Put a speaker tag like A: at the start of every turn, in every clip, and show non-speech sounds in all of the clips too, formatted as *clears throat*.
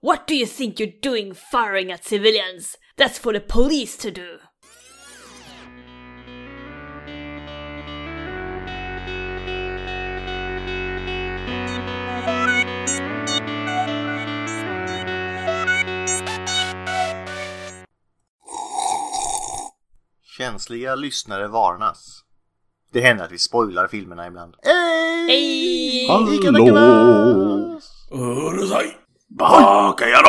A: What do you think you're doing firing at civilians? That's for the police to do!
B: Känsliga lyssnare varnas. Det händer att vi spoilar filmerna ibland. Ey!
A: Ey!
B: Hallå!
C: Urusai! Bakayaro!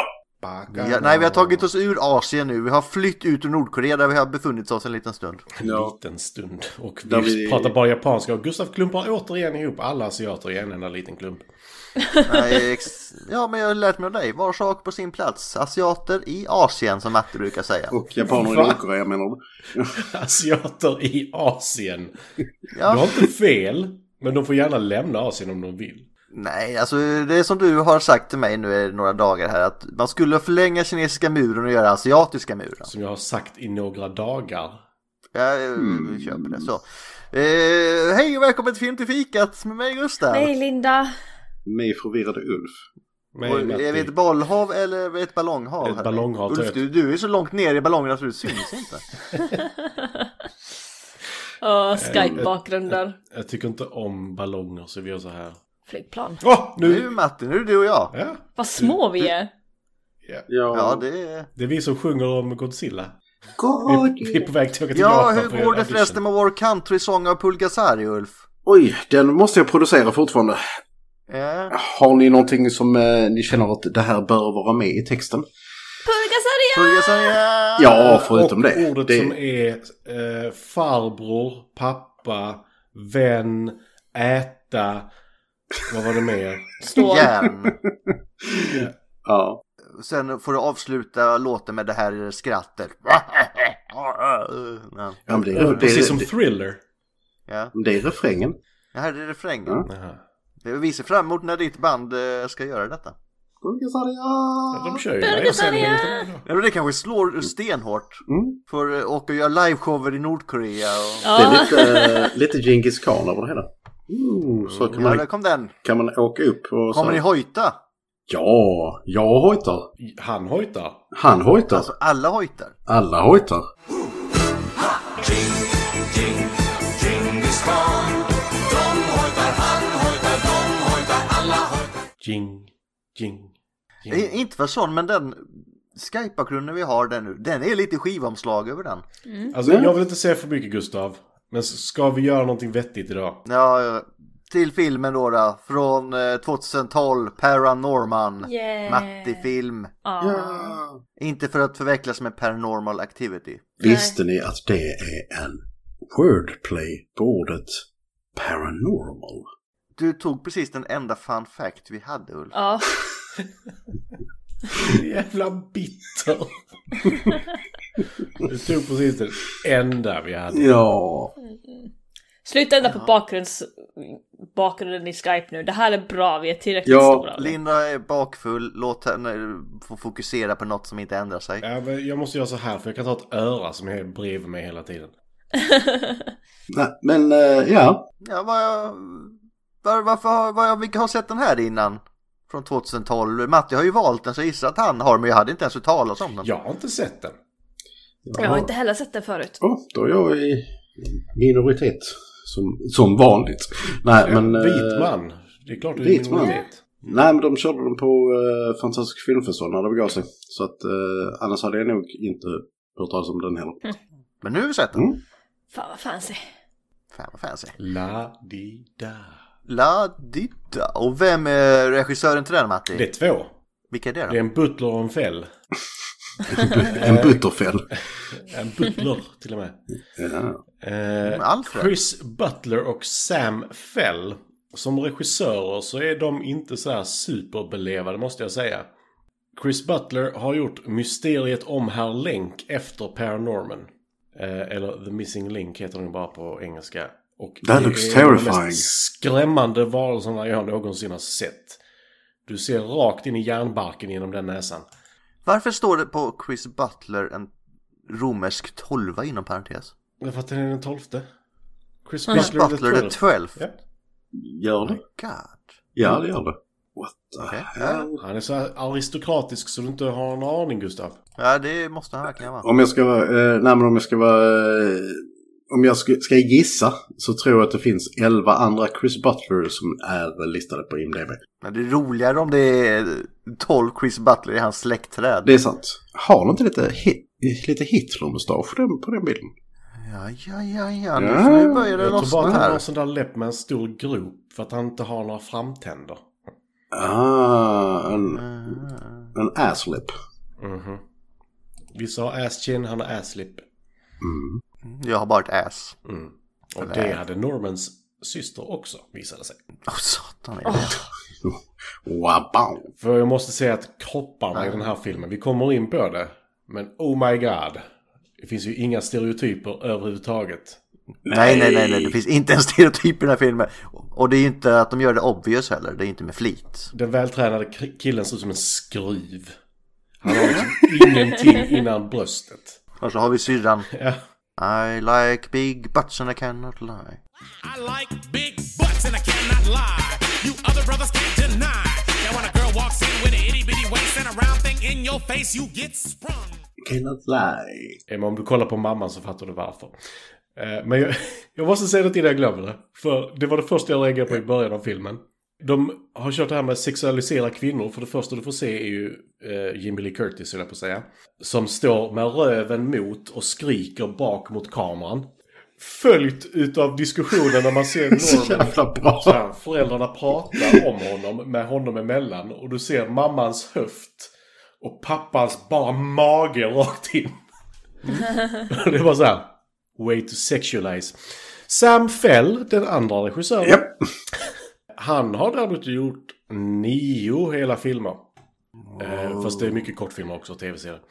B: Ja, nej, vi har tagit oss ur Asien nu. Vi har flytt ut ur Nordkorea där vi har befunnit oss en liten stund.
C: En
D: Ja.
C: liten stund. Och
D: Där
C: vi,
D: vi-
C: pratar bara japanska. Och Gustav klumpar återigen ihop alla asiater i en enda liten klump. *laughs*
B: Nej, ex- ja, men jag har lärt mig av dig. Var sak på sin plats. Asiater i Asien, som Matte brukar säga.
D: Och japaner i
C: Va?
D: Nordkorea menar du?
C: Asiater i Asien. Du har
B: Ja.
C: inte fel. Men de får gärna lämna Asien om de vill.
B: Nej, alltså det är som du har sagt till mig nu i några dagar här att man skulle förlänga kinesiska muren och göra asiatiska muren.
C: Som jag har sagt i några dagar.
B: Jag eh, köper det så. Eh, hej och välkommen till Film till fikat med mig Gustav.
A: Nej, Linda.
D: Mig förvirrade Ulf.
C: Men
B: Och
C: Matti,
B: är vi ett bollhav eller är vi ett ballonghav?
C: Ett
B: här?
C: ballonghav, tror
B: Ulf,
C: jag.
B: du, du är så långt ner i ballongen att du syns inte.
A: Åh, Skype-bakgrunden.
C: jag tycker inte om ballonger så vi gör så här.
A: Flygplan.
C: Åh,
B: Nu
C: nu!
B: Matti, nu är det du och jag.
C: Ja,
A: Vad små vi är.
C: ja.
D: Ja,
B: Ja, det är...
C: Det är vi som sjunger om Godzilla.
D: God.
C: Vi, vi är på väg till att åka till
B: Ja,
C: Japan
B: hur
C: för
B: går det
C: audition.
B: förresten med vår country-sång av Pulgasari, Ulf?
D: Oj, den måste jag producera fortfarande.
B: Ja.
D: Har ni någonting som eh, ni känner att det här bör vara med i texten?
A: Pulgasari!
B: Pulgasari, ja!
D: Ja, förutom
C: och
D: det.
C: ordet
D: det
C: som är eh, farbror, pappa, vän, äta. Vad var
D: *laughs*
C: det mer?
A: Står.
B: Järn.
D: ja.
B: Sen får du avsluta låten med det här skrattet. *laughs* Ja,
D: Ja, men det,
C: Ja,
D: är, det,
C: Precis som
D: är,
C: thriller.
B: ja.
D: det är refrängen.
B: Det här är refrängen.
D: Ja.
C: Jaha.
B: Det visar fram emot när ditt band eh, ska göra detta.
C: Ja, De
D: Mm.
C: kör ju vad jag sänder lite då.
B: Ja, men det kanske slår stenhårt. För eh, åka och göra liveshower i Nordkorea och...
D: Det är
A: Ja,
D: lite, eh, lite Genghis khan över det hela. Mm, så kan
B: Ja,
D: man,
B: där kom den.
D: kan man åka upp och så.
B: Kommer ni hojta?
D: Ja, jag hojtar.
C: Han hojtar.
D: Han hojtar.
B: Alltså alla hojtar.
D: Alla hojtar.
C: Jing, jing,
B: Det är
D: Mm.
C: jing.
B: Inte för sån, men den Skype-bakgrunden vi har där nu, den är lite skivomslag över den.
C: Alltså, jag vill inte säga för mycket Gustav. Men ska vi göra någonting
D: *laughs*
C: vettigt idag?
B: Ja, eh, till filmen då, då från eh, 2012, Paranorman.
A: Yeah.
B: Matti-film.
A: ja.
B: Inte för att förvecklas med Paranormal Activity.
D: Visste ni att det är en wordplay på ordet paranormal?
B: Du tog precis den enda fun fact vi hade Ulf.
A: ja.
C: Jävla bitter. Du tog precis den enda vi hade.
D: Ja.
A: Sluta ändra på bakgrunds... bakgrunden i Skype nu. Det här är bra, vi är tillräckligt
D: Ja,
A: stora.
B: Linda är bakfull, låt henne eh, få fokusera på något som inte ändrar sig.
C: Ja, men jag måste göra så här för jag kan ta ett öra som är bredvid mig hela tiden.
D: Nej, men eh, ja.
B: Ja, vad jag... Var, varför har, var jag, vilka har sett den här innan? Från 2012. Matti har ju valt den så jag gissar att han har, men jag hade inte ens hört talas om den.
C: Jag har inte sett den.
A: *laughs* Jag har inte heller sett den förut.
D: Ja, då är jag i minoritet. Som, som vanligt. Nej, men... eh,
C: Vit man. Det är klart du är
D: vit man.
C: minoritet.
D: Nej, men de körde den på eh, Fantastisk filmfestival när det begav sig. Så att eh, annars hade jag nog inte hört talas om
A: *laughs*
D: den heller.
B: Men nu har vi sett den.
D: Mm.
A: Fan vad fancy.
B: Fan vad fancy.
C: La di da.
B: La ditta. Och vem är regissören till den Matti?
C: Det är två.
B: Vilka är det då?
C: Det är en butler och en fäll.
D: En butterfäll.
C: En butler till och med.
D: Ja.
C: Eh,
B: Alfred.
C: Chris Butler och Sam Fell. Som regissörer så är de inte så här superbelevade måste jag säga. Chris Butler har gjort Mysteriet om Herr Link efter Paranorman. Eh, eller The Missing Link heter den bara på engelska. Och
D: That
C: det
D: looks
C: är en av de
D: terrifying.
C: mest skrämmande varelserna jag någonsin har sett. Du ser rakt in i järnbarken genom den näsan.
B: Varför står det på Chris Butler en romersk tolva inom parentes?
C: För att den är den tolfte. Chris
B: Chris
C: Butler,
B: Butler the 12.
C: Ja.
D: Gör det?
B: God.
D: Ja, det gör det. What the
B: Okej.
D: hell?
C: Han är så här aristokratisk så du inte har en aning Gustav.
B: Ja, det måste han verkligen vara.
D: Om jag ska vara, eh, nej men om jag ska vara, eh, om jag ska, ska gissa så tror jag att det finns 11 andra Chris Butler som är listade på IMDB.
B: Men det är roligare om det är 12 Chris Butler i hans släktträd.
D: Det är sant. Har de inte lite, hit, lite Hitler-mustasch på den- på den bilden?
B: Ja, ja, ja, ja. Nu, nu börjar det
C: Jag tror bara
B: lossna
C: att han har en
B: här.
C: sån där läpp med en stor grop för att han inte har några framtänder.
D: Ah, en, en asslip.
C: Mhm. Vissa har ass-chin, han har ass-lip.
D: Mm.
B: Jag har bara ett ass.
C: Mm. Och
B: Eller-
C: det hade Normans syster också visade sig.
B: Åh, satan. Är det?
A: Åh,
D: Wow.
C: För jag måste säga att kropparna i den här filmen, vi kommer in på det. Men oh my god. Det finns ju inga stereotyper överhuvudtaget.
B: Nej, nej, nej, nej. Det finns inte en stereotyp i den här filmen. Och det är ju inte att de gör det obvious heller. Det är inte med flit.
C: Den vältränade k- killen ser ut som en skruv. Han har liksom
B: *laughs*
C: ingenting innan bröstet.
B: Och så har vi syrran.
C: Ja.
B: I like big butts and I cannot lie.
E: I like big butts and I cannot lie. You other brothers can't deny. Now when a girl walks in with an itty bitty waist and a round thing in your face, you get sprung.
D: Cannot lie.
C: Eh, Men om du kollar på mamman så fattar du varför. Eh, Men jag, *laughs* jag måste säga det innan jag glömmer det. För det var det första jag reagerade på i början av filmen. De har kört det här med sexualisera kvinnor. För det första du får se är ju eh, Jimmy Lee Curtis, höll jag på att säga. Som står med röven mot och skriker bak mot kameran. Följt utav diskussionen när
D: *laughs*
C: man ser
D: Så
C: Norman
D: jävla bra.
C: så här, föräldrarna pratar om honom med honom emellan och du ser mammans höft och pappans bara mage rakt in. *laughs* Och det var så här, way to sexualize. Sam Fell, den andra regissören,
D: Japp.
C: han har däremot gjort nio hela filmer. Eh, fast det är mycket kortfilmer också, och tv-serier.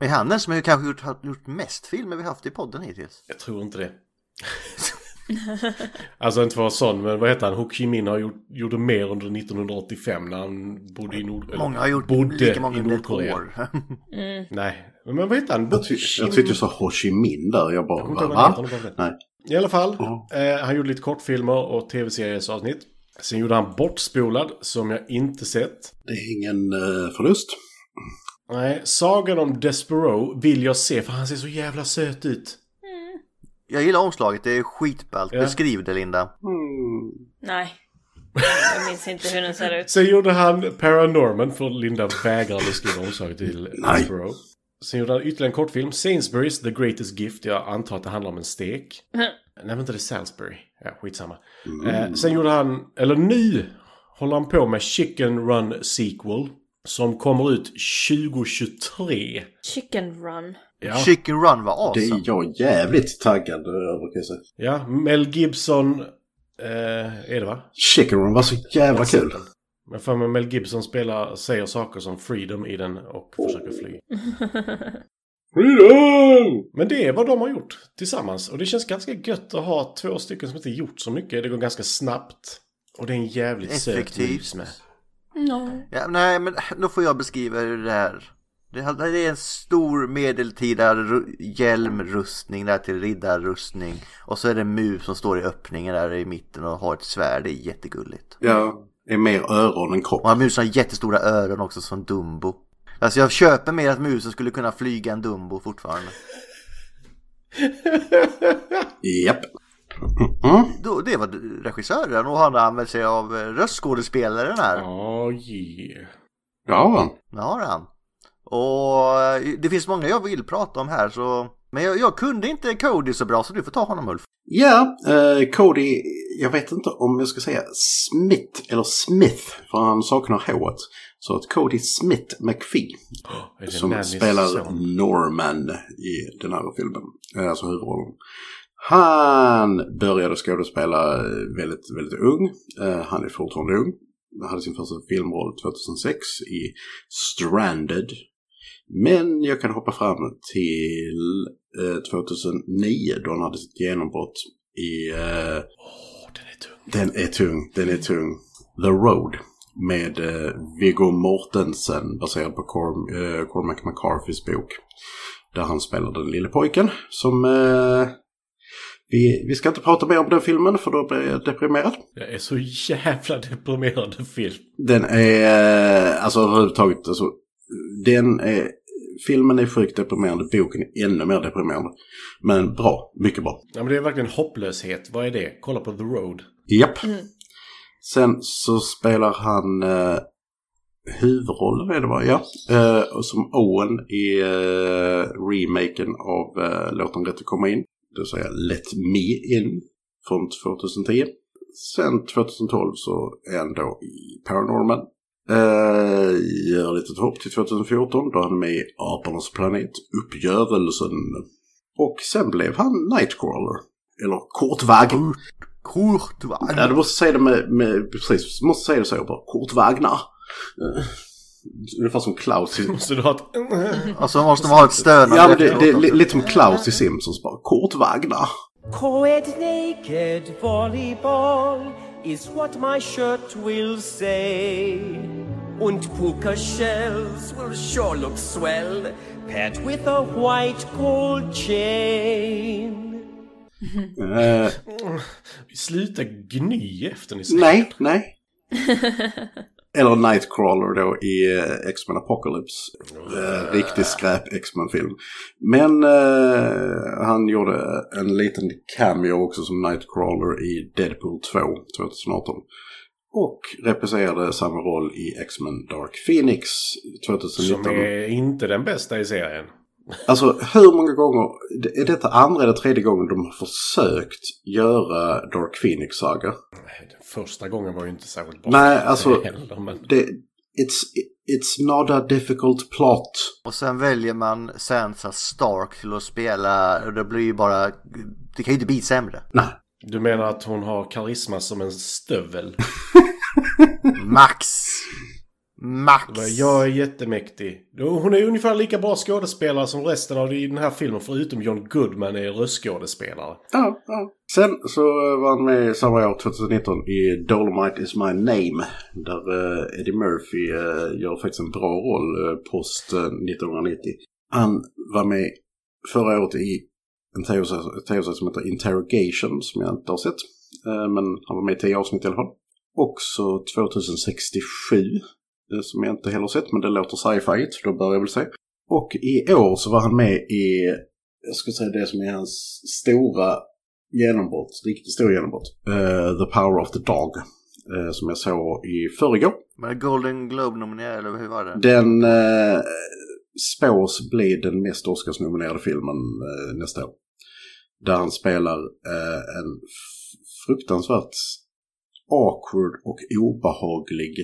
B: Men han är den som har kanske gjort, har gjort mest filmer vi haft i podden hittills.
C: Jag tror inte det. *laughs* alltså inte för att vara sån, men vad heter han? Ho Chi Minh har gjort, gjorde mer under 1985 när han bodde i Nord... eller
B: Många har gjort
C: bodde
B: lika många
C: i
B: under ett
C: Nordkorea.
B: år. *laughs* Alltså-
C: Nej, men vad heter han?
D: Jag, ty jag tyckte jag sa Ho Chi Minh där. Jag bara,
C: kommer inte
D: va?
C: ihåg vad han heter,
D: va?
C: han var
D: Nej.
C: I alla fall,
D: Ja.
C: eh, han gjorde lite kortfilmer och tv-seriesavsnitt. Sen gjorde han Bortspolad, som jag inte sett.
D: Det är ingen eh, förlust.
C: Nej, Sagan om Despero vill jag se för han ser så jävla söt ut.
B: Jag gillar omslaget, det är skitballt.
C: Ja.
B: Beskriv det Linda.
A: Nej. Jag minns inte hur den ser ut.
C: Sen gjorde han Paranorman, för Linda vägrar att skriva omslaget till
D: Nej.
C: Despero. Sen gjorde han ytterligare en kortfilm, Sainsbury's The Greatest Gift. Jag antar att det handlar om en stek. Nej, vänta, det är Salisbury. Ja, skitsamma. Eh, sen gjorde han, eller nu håller han på med Chicken Run Sequel. Som kommer ut 2023.
A: Chicken Run.
C: Ja,
B: Chicken Run var
D: Det är
B: awesome.
D: jag jävligt taggad eh, över kan jag säga.
C: ja Mel Gibson eh, är det va?
D: Chicken Run var så jävla kul.
C: Men för mig Mel Gibson spelar, säger saker som freedom i den och försöker fly.
D: Freedom!
C: Men det är vad de har gjort tillsammans. Och det känns ganska gött att ha två stycken som inte gjort så mycket. Det går ganska snabbt. Och det är en jävligt söt
B: Effektivt.
C: mus med.
A: No.
B: Ja, nej, men då får jag beskriva hur det är. Det här- det här är en stor medeltida ru- hjälmrustning där till riddarrustning. Och så är det en mus som står i öppningen där i mitten och har ett svärd. Det är jättegulligt.
D: Ja, det är mer öron än
B: Och
D: kropp.
B: han musen har jättestora öron också som Dumbo. Alltså jag köper mer att musen skulle kunna flyga än Dumbo fortfarande.
D: Japp. Mm.
B: Då, det var regissören och han har använt sig av eh, röstskådespelaren här.
C: Ja, yeah.
D: Ja,
B: Det har han. Och eh, det finns många jag vill prata om här så... Men jag, jag kunde inte Cody så bra så du får ta honom Ulf.
D: Ja, eh, Cody, jag vet inte om jag ska säga Smith eller Smith, för han saknar H. Så att Cody Smith McPhee,
C: Är det
D: som
C: Nannys
D: spelar
C: son?
D: Norman i den här filmen, eh, alltså huvudrollen. Han började skådespela eh, väldigt, väldigt ung. Eh, han är fortfarande ung. Han hade sin första filmroll 2006 i Stranded. Men jag kan hoppa fram till eh, 2009 då han hade sitt genombrott i eh,
C: Åh, den är tung.
D: den är tung, den är tung. The Road med eh, Viggo Mortensen baserad på Corm, eh, Cormac McCarthys bok. Där han spelar den lille pojken som eh, Vi, vi ska inte prata mer om den filmen för då blir jag deprimerad.
C: Det är så jävla *laughs* deprimerande film.
D: Den är, eh, alltså överhuvudtaget, alltså, den är, filmen är sjukt deprimerande, boken är ännu mer deprimerande. Men bra, mycket bra.
C: Ja, men det är verkligen hopplöshet. Vad är det? Kolla på The Road.
D: Japp. Sen så spelar han eh, huvudrollen, är det bara, ja. Eh, och som Owen i eh, remaken av eh, Låt dem rätt komma in. Det vill säga Let Me In från 2010. Sen 2012 så är han då i Paranorman. Eh, gör lite hopp till 2014 då han är med i Apornas planet, Uppgörelsen. Och sen blev han Nightcrawler. Eller Kortvagn.
B: Kort va?
D: Ja, du måste säga det med, med precis, du måste säga det så bara, Kurt Wagner. Eh, Ungefär som Klaus i...
C: Måste du ha ett...
B: Och så måste man ha ett stönande
D: Ja, men det,
B: efteråt
D: det är
B: också.
D: li- lite som Klaus i Simpsons bara, Kurt Wagner.
F: Co-ed naked volleyball is what my shirt will say. And puka shells will sure look swell, paired with a white gold chain.
D: Eh,
C: Sluta gny efter ni säger.
D: nej, nej.
C: *laughs*
D: Eller Nightcrawler då i eh, X-Men Apocalypse. Eh,
C: Ah.
D: riktig skräp X-Men-film. Men eh, han gjorde en liten cameo också som Nightcrawler i Deadpool 2 2018. Och repriserade samma roll i X-Men Dark Phoenix
C: Som
D: 2019.
C: är inte den bästa i serien.
D: Alltså hur många gånger, är detta andra eller tredje gången de har försökt göra Dark Phoenix-saga?
C: Nej, Den första gången var ju inte särskilt bra.
D: Nej, alltså-
C: *laughs* Heller, men...
D: Det, it's, it's not a difficult plot.
B: Och sen väljer man Sansa Stark till att spela och det blir ju bara... Det kan ju inte bli sämre.
C: Du menar att hon har karisma som en stövel?
B: Max! Max!
C: Jag är jättemäktig. Hon är ungefär lika bra skådespelare som resten av i den här filmen förutom John Goodman är röstskådespelare.
D: Ja, ja. Sen så var han med samma år, 2019, i Dolomite is my name. Där eh, Eddie Murphy eh, gör faktiskt en bra roll eh, post eh, 1990. Han var med förra året i en tv-serie tv-serie som heter Interrogation, som jag inte har sett. Eh, men han var med i tio avsnitt i alla fall. Också 2067, eh, som jag inte heller sett, men det låter sci-fi, så då börjar jag väl se. Och i år så var han med i jag skulle säga det som är hans stora genombrott, riktigt stora genombrott. Eh, the Power of the Dog. eh, som jag såg i förrgår.
B: Men Golden Globe nominerad eller hur var det?
D: Den eh, spås bli den mest Oscarsnominerade filmen eh, nästa år. Där han spelar eh, en f- fruktansvärt awkward och obehaglig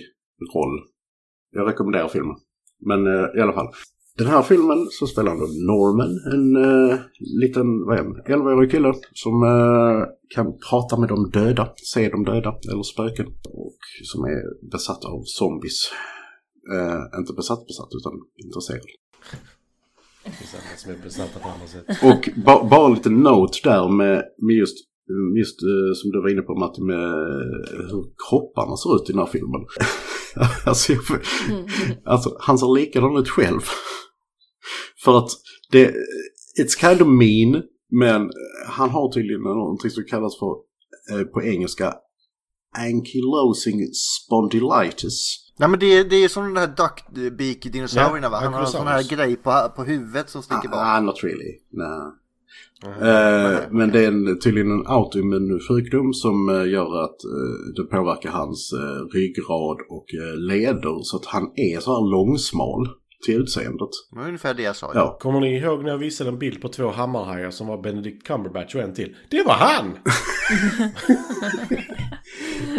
D: roll. Jag rekommenderar filmen. Men eh, i alla fall. Den här filmen så spelar han då Norman, en eh, liten, vad är han, 11-årig kille som eh, kan prata med de döda, se de döda eller spöken. Och som är besatt av zombies. Eh, inte besatt besatt utan intresserad.
C: Tillsammans med besatta på andra sätt.
D: Och ba bara lite note där med, med just, just eh, som du var inne på Matti med eh, hur kropparna ser ut i den här filmen. *laughs* alltså, jag, alltså han ser likadan ut själv. För att det, it's kind of mean men han har tydligen någonting som kallas för eh, på engelska ankylosing spondylitis.
B: Nej men det är, det är som den här duckbeak-dinosaurierna va?
C: Ja,
B: Han har en sån här
C: Ankylosaurus.
B: grej på, på huvudet som sticker bak.
D: Ah, not really. Nah. Eh, men det är en, tydligen en autoimmun sjukdom som eh, gör att eh, det påverkar hans eh, ryggrad och eh, leder så att han är så här långsmal till utseendet.
B: Det var ungefär det jag sa.
D: Ja.
C: *laughs* Kommer ni ihåg när jag visade en bild på två hammarhajar som var Benedict Cumberbatch och en till? Det var han!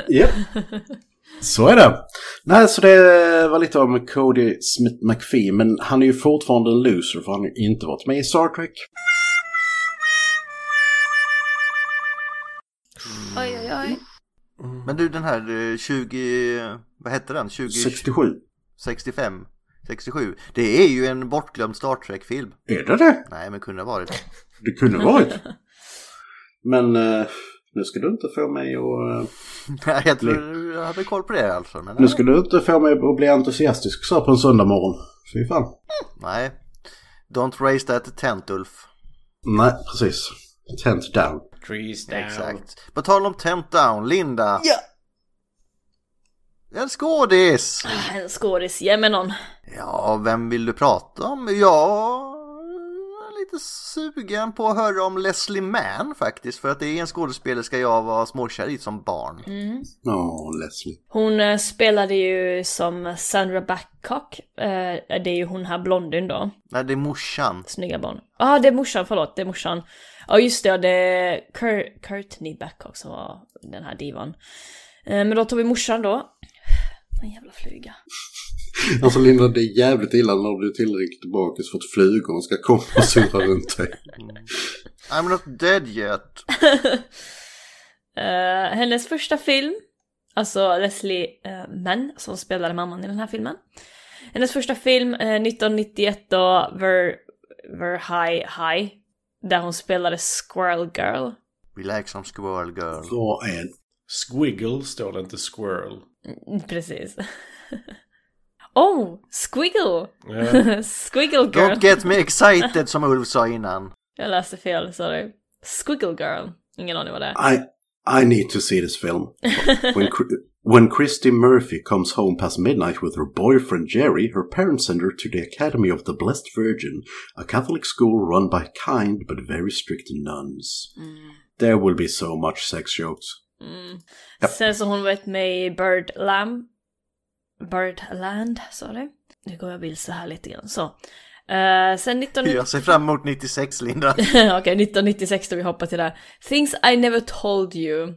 D: Japp. Så är det. Nej, så det var lite om Cody Smith McPhee, men han är ju fortfarande en loser för han har ju inte varit med i Star Trek.
G: Oj, oj, oj.
B: Men du den här eh, 20... Vad hette den? 20...
D: 67.
B: 65? 67? Det är ju en bortglömd Star Trek-film.
D: Är det det?
B: Nej men kunde ha varit. *laughs*
D: Det kunde varit. Men eh, nu ska du inte få mig att... eh,
B: Nej jag tror du hade koll på det alltså. Men,
D: Nu ska du inte få mig att bli entusiastisk så här på en söndag morgon. Fy fan.
B: Nej. Don't raise that tent Ulf.
D: Nej, precis. Tent down.
C: Trees down.
B: Exakt. På tal om Temptown, Linda.
A: Ja!
B: En skådis!
A: Ah, En skådis, ge mig någon.
B: Ja, vem vill du prata om? Jag är lite sugen på att höra om Leslie Mann faktiskt. För att det är en skådespelerska jag var småkär i som barn.
D: Ja, Leslie.
A: Hon eh, spelade ju som Sandra Babcock. Eh, det är ju hon här blondin då.
B: Nej, det är morsan.
A: Snygga barn. Ja, ah, det är morsan, förlåt, det är morsan. Ja, just det, ja, det är Cur- Courtney Babcock som var den här divan. Eh, men då tar vi morsan då. En jävla fluga.
D: Alltså Linda, det är jävligt illa när du är tillräckligt bakis för att flugorna ska komma och surra runt dig.
B: I'm not dead yet.
A: Eh, hennes första film, alltså Leslie eh, Mann som spelade mamman i den här filmen. Hennes första film eh, 1991 då, Ver, Ver High High, där hon spelade Squirrel Girl. *laughs*
B: We like some squirrel girl.
D: Vad är
C: Squiggle står det inte squirrel.
A: Mm, Precis. oh, Squiggle! *laughs*
C: Ja.
A: Squiggle Girl.
B: Don't get me excited som Ulf sa innan.
A: Jag läste fel, sorry. Squiggle Girl. Ingen aning vad det är.
D: I, I need to see this film. When, Chr- when Christy Murphy comes home past midnight with her boyfriend Jerry, her parents send her to the Academy of the Blessed Virgin, a Catholic school run by kind but very strict nuns. There will be so much sex jokes. Ja.
A: Sen så hon varit med i Birdlam. Birdland, sa du? Nu går jag vilse här lite grann, så. Eh, sen 19...
B: Jag ser fram emot 96, Linda.
A: *laughs* Okej, 1996 då vi hoppar till det. Things I never told you.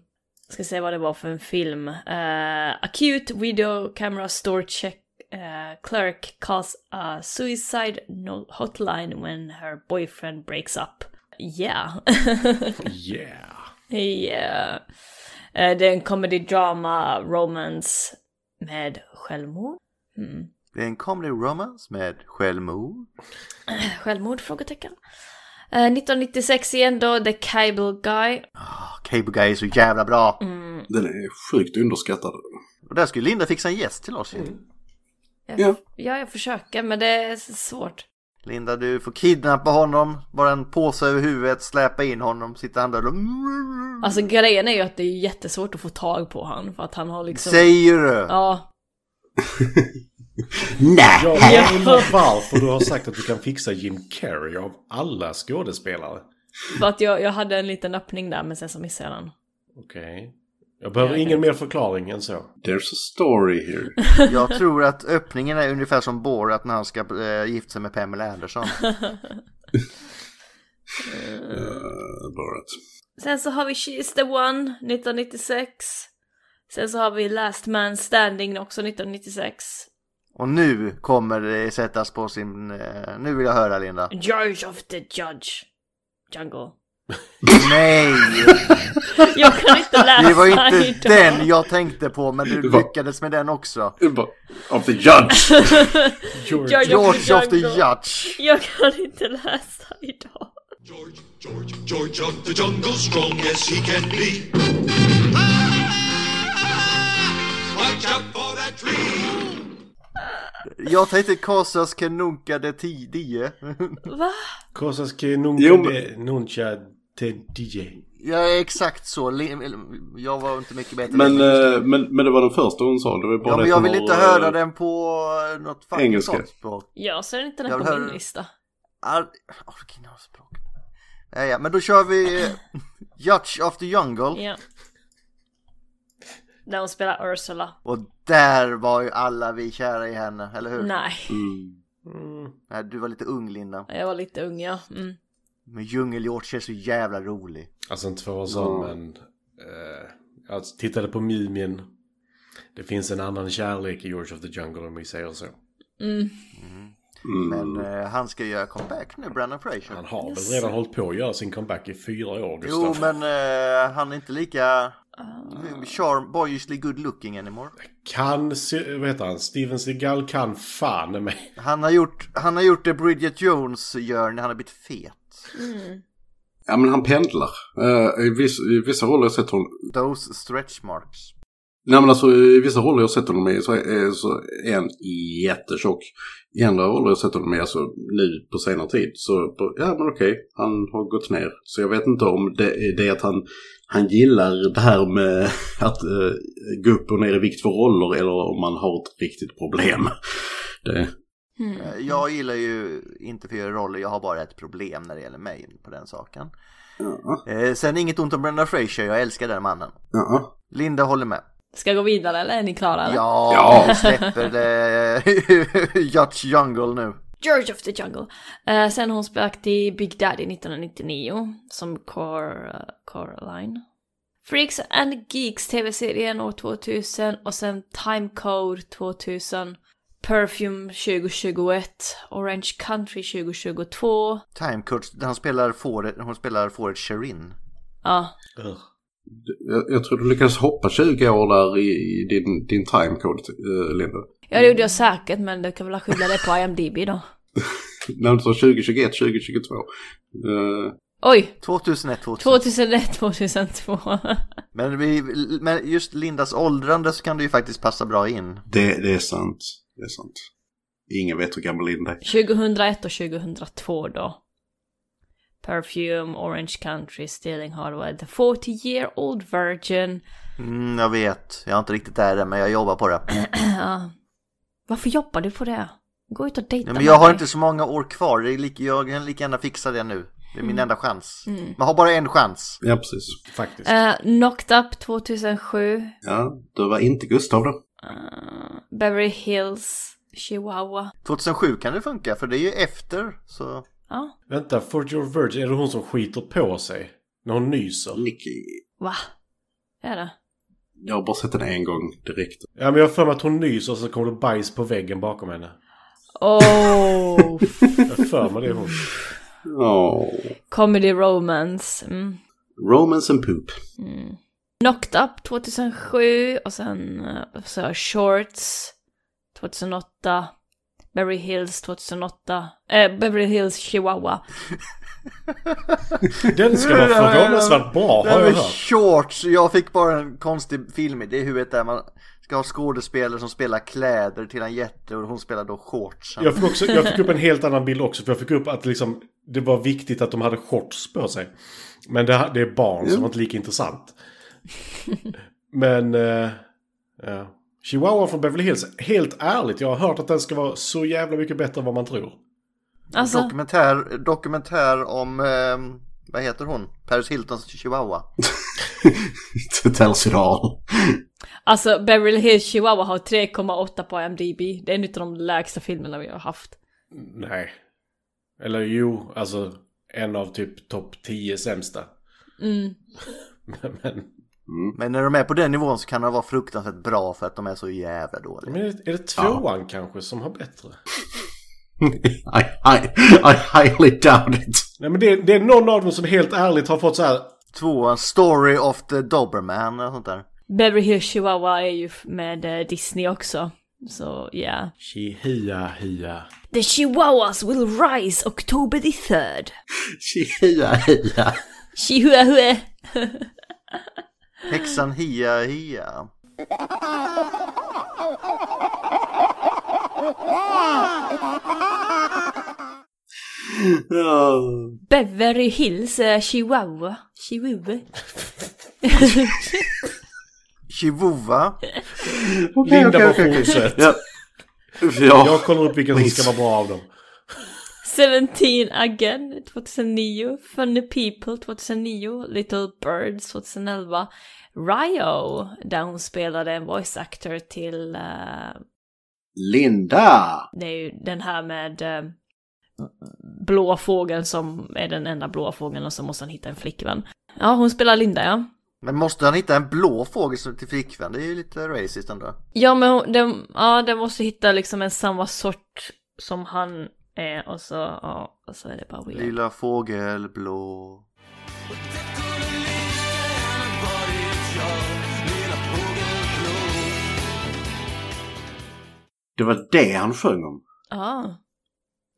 A: Ska se vad det var för en film. Eh, acute video camera store check eh, clerk calls a suicide no- hotline when her boyfriend breaks up. Yeah. *laughs*
C: Yeah.
A: yeah. Eh, det är en comedy drama romance med självmord. *clears throat* Mm.
B: Det är en comedy romance med självmord.
A: Självmord? Frågetecken. Eh, 1996 igen då, The Cable Guy.
B: Ah, Cable Guy är så jävla bra.
A: Mm.
D: Den är
B: *laughs*
D: sjukt underskattad.
B: Och där skulle Linda fixa en gäst till oss ju.
A: Mm. Jag,
D: Ja.
A: ja, jag försöker men det är s- svårt.
B: Linda, du får kidnappa honom, bara en påse över huvudet, släpa in honom, sitta han där och...
A: Alltså grejen är ju att det är jättesvårt att få tag på han för att han har liksom...
B: Säger du?
A: Ja.
D: Nej!
C: Jag undrar varför du har sagt att du kan fixa Jim Carrey av alla skådespelare.
A: För att jag, jag hade en liten öppning där men sen så missade jag den.
C: Okej. Jag behöver ingen mer förklaring än så.
D: There's a story here.
B: Jag tror att öppningen är ungefär som Borat när han ska eh, gifta sig med Pamela Anderson.
D: Uh, Borat.
A: Sen så har vi She's the One 1996. Sen så har vi Last Man Standing också 1996.
B: Och nu kommer det sättas på sin... Eh, nu vill jag höra
D: *laughs*
B: Linda.
A: George of the Judge. Jungle.
B: Nej!
A: Jag kan inte
B: *laughs*
A: läsa
B: Det
D: *laughs*
B: var inte
A: idag.
B: den jag tänkte på men du
D: Vad?
B: lyckades med den också.
D: Of the judge!
C: George.
A: George,
B: George of the
A: Jungle.
B: Judge!
A: Jag kan inte läsa idag.
G: George, George, George of the jungle, strong as he can be. Ah, watch out for that tree.
B: Jag tänkte Casas Kenunka de 10.
A: Va?
C: Kosas
D: Jo, men-
C: Nunca Nuncha Tedije.
B: Jag är exakt så. Lin- Jag var inte mycket bättre.
D: Men, eh, men, men det var den första hon sa. Det var bara
B: Ja,
D: det
B: men jag
D: som
B: vill
D: har,
B: inte
D: eh,
B: höra den på eh, något fucking
D: engelska.
B: sånt språk.
A: Jag ser inte
B: Jag
A: den
B: vill
A: på
B: höra
A: min
B: det.
A: lista.
B: Ar- Originalspråk. Ja, ja, men då kör vi eh, *laughs* Judge of the Jungle.
A: Ja. När hon spelar Ursula.
B: Och där var ju alla vi kära i henne, eller hur?
A: Nej,
D: eh, mm.
B: Nej, du var lite ung Linda.
A: jag var lite ung ja. Mm.
B: Men Djungel-George är så jävla rolig.
C: Alltså inte för att vara sån, men... eh, jag tittade på Mumien. Det finns en annan kärlek i George of the Jungle om vi säger så.
B: Men eh, han ska göra comeback nu, Brandon Fraser.
C: Han har väl redan hållit på att göra sin comeback i fyra år, Gustav.
B: Jo, men eh, han är inte lika eh, charm, boyishly good looking anymore.
C: Kan, se- vad heter han, Steven Seagal kan fan mig.
B: Han har gjort, han har gjort det Bridget Jones gör när han har blivit fet.
A: Mm.
D: Ja, men han pendlar. Eh, i, viss, I vissa roller sätter hon
B: Those stretch marks.
D: Nej men alltså i vissa roller jag sett honom i så är, så är han jättetjock. I andra roller jag sett honom i, alltså nu på senare tid, så på, ja men okej, han har gått ner. Så jag vet inte om det är det att han, han gillar det här med *laughs* att eh, gå upp och ner i vikt för roller eller om man har ett riktigt problem. Det,
B: Eh, Jag gillar ju inte för roller, jag har bara ett problem när det gäller mig på den saken.
D: ja,
B: Eh, sen inget ont om Brenda Fraser, jag älskar den mannen.
D: ja.
B: Linda håller med.
A: Ska jag gå vidare eller är ni klara? Eller?
B: Ja, vi släpper det. *laughs* Yacht Jungle nu.
A: George of the Jungle. Eh, sen hon spökte i Big Daddy 1999 som Cor- eh, Coraline. Freaks and Geeks tv-serien år 2000 och sen Timecode 2000. Perfume 2021. Orange Country 2022.
B: Timecoach, han spelar fåret, hon spelar fåret Sherin.
A: Ja,
C: Ugh.
D: Jag, jag tror du lyckades hoppa 20 år där i, i din, din timecode, eh, Linda.
A: ja det gjorde jag säkert men du kan väl skylla det på IMDB då.
D: När du sa 2021, 2022. Eh,
A: Oj!
B: 2001, 2000.
A: 2001, *laughs* 2002.
B: Men, vi, men just Lindas åldrande så kan det ju faktiskt passa bra in.
D: Det, det är sant. Det är sant. Ingen vet hur gammal Linda är.
A: 2001 och 2002 då. Perfume, Orange Country, Stealing Hardware, The 40 Year Old Virgin.
B: Mm, jag vet, jag är inte riktigt där än, men jag jobbar på det.
A: Varför jobbar du på det? Gå ut och dejta
B: Nej, men
A: med
B: jag har
A: mig.
B: inte så många år kvar, det är lika, jag kan lika gärna fixa det nu. Det är min enda chans. Man har bara en chans.
D: Ja, precis.
C: Faktiskt.
A: Eh, Knocked Up 2007.
D: Ja, du var inte Gustav då.
A: Beverly Hills, Chihuahua.
B: 2007 kan det funka, för det är ju efter. Så
A: Ja,
C: Vänta, For Your Virgin, är det hon som skiter på sig? När hon nyser?
D: Nicky.
A: va? Är det?
D: Jag har bara sett den en gång direkt.
C: Ja, men jag har för mig att hon nyser och så kommer det bajs på väggen bakom henne.
A: Oh,
C: Jag har för mig det är hon.
D: Oh.
A: *laughs* comedy romance. Mm.
D: Romance and poop. *laughs*
A: Knocked Up 2007 och sen eh, så har jag Shorts 2008. Beverly Hills 2008. Eh, Beverly Hills Chihuahua.
C: Den ska vara förvånansvärt bra,
B: Det här
C: har jag
B: med
C: hört.
B: shorts, jag fick bara en konstig film i det huvudet där man ska ha skådespelare som spelar kläder till en jätte och hon spelar då shorts.
C: Jag fick, också, jag fick upp en helt annan bild också, för jag fick upp att liksom, det var viktigt att de hade shorts på sig. Men det, det är barn, så det var inte lika intressant. *laughs* Men... eh, ja. Chihuahua från Beverly Hills, helt ärligt, jag har hört att den ska vara så jävla mycket bättre än vad man tror.
A: Alltså,
B: Dokumentär, dokumentär om, ehm, vad heter hon? Paris Hiltons chihuahua.
C: Mm.
D: Det tells it all. *laughs*
A: alltså Beverly Hills Chihuahua har 3,8 på IMDB. Det är en av de lägsta filmerna vi har haft.
C: Nej. Eller jo, alltså en av typ topp 10 sämsta. Mm. *laughs* men,
B: Men när de är på den nivån så kan de vara fruktansvärt bra för att de är så jävla dåliga.
C: men är det, är det tvåan kanske som har bättre?
D: I, I, I highly doubt it. *laughs*
C: Nej men det, det är någon av dem som helt ärligt har fått så här.
B: Tvåan, Story of the Doberman och sånt där.
A: Beverly Hills Chihuahua är ju med eh, Disney också. Så ja. Yeah.
C: Chihia hia.
A: The Chihuahuas will rise October the 3rd.
D: Tja, ja.
A: Chihuahua!
B: Häxan Hia Hia.
A: Beverly Hills eh, Chihuahua. Chihuahua.
B: Chivova.
C: Linda bara fortsätt.
D: Ja.
C: Jag
D: Ja.
C: kollar upp vilken som ska vara bra av dem.
A: 17 Again 2009. Funny People 2009. Little Birds 2011. Rio, där hon spelade en voice actor till... eh,
D: Linda!
A: det är ju den här med eh, blåa fågeln som är den enda blåa fågeln och så måste han hitta en flickvän. Ja, hon spelar Linda ja.
B: Men måste han hitta en blå fågel som- till flickvän? Det är ju lite racist ändå.
A: Ja, men hon- den, ja, den måste hitta liksom en samma sort som han är och så, ja, och så är det bara weird.
B: Lilla fågel blå.
D: Det var det han sjöng om.
A: Ja.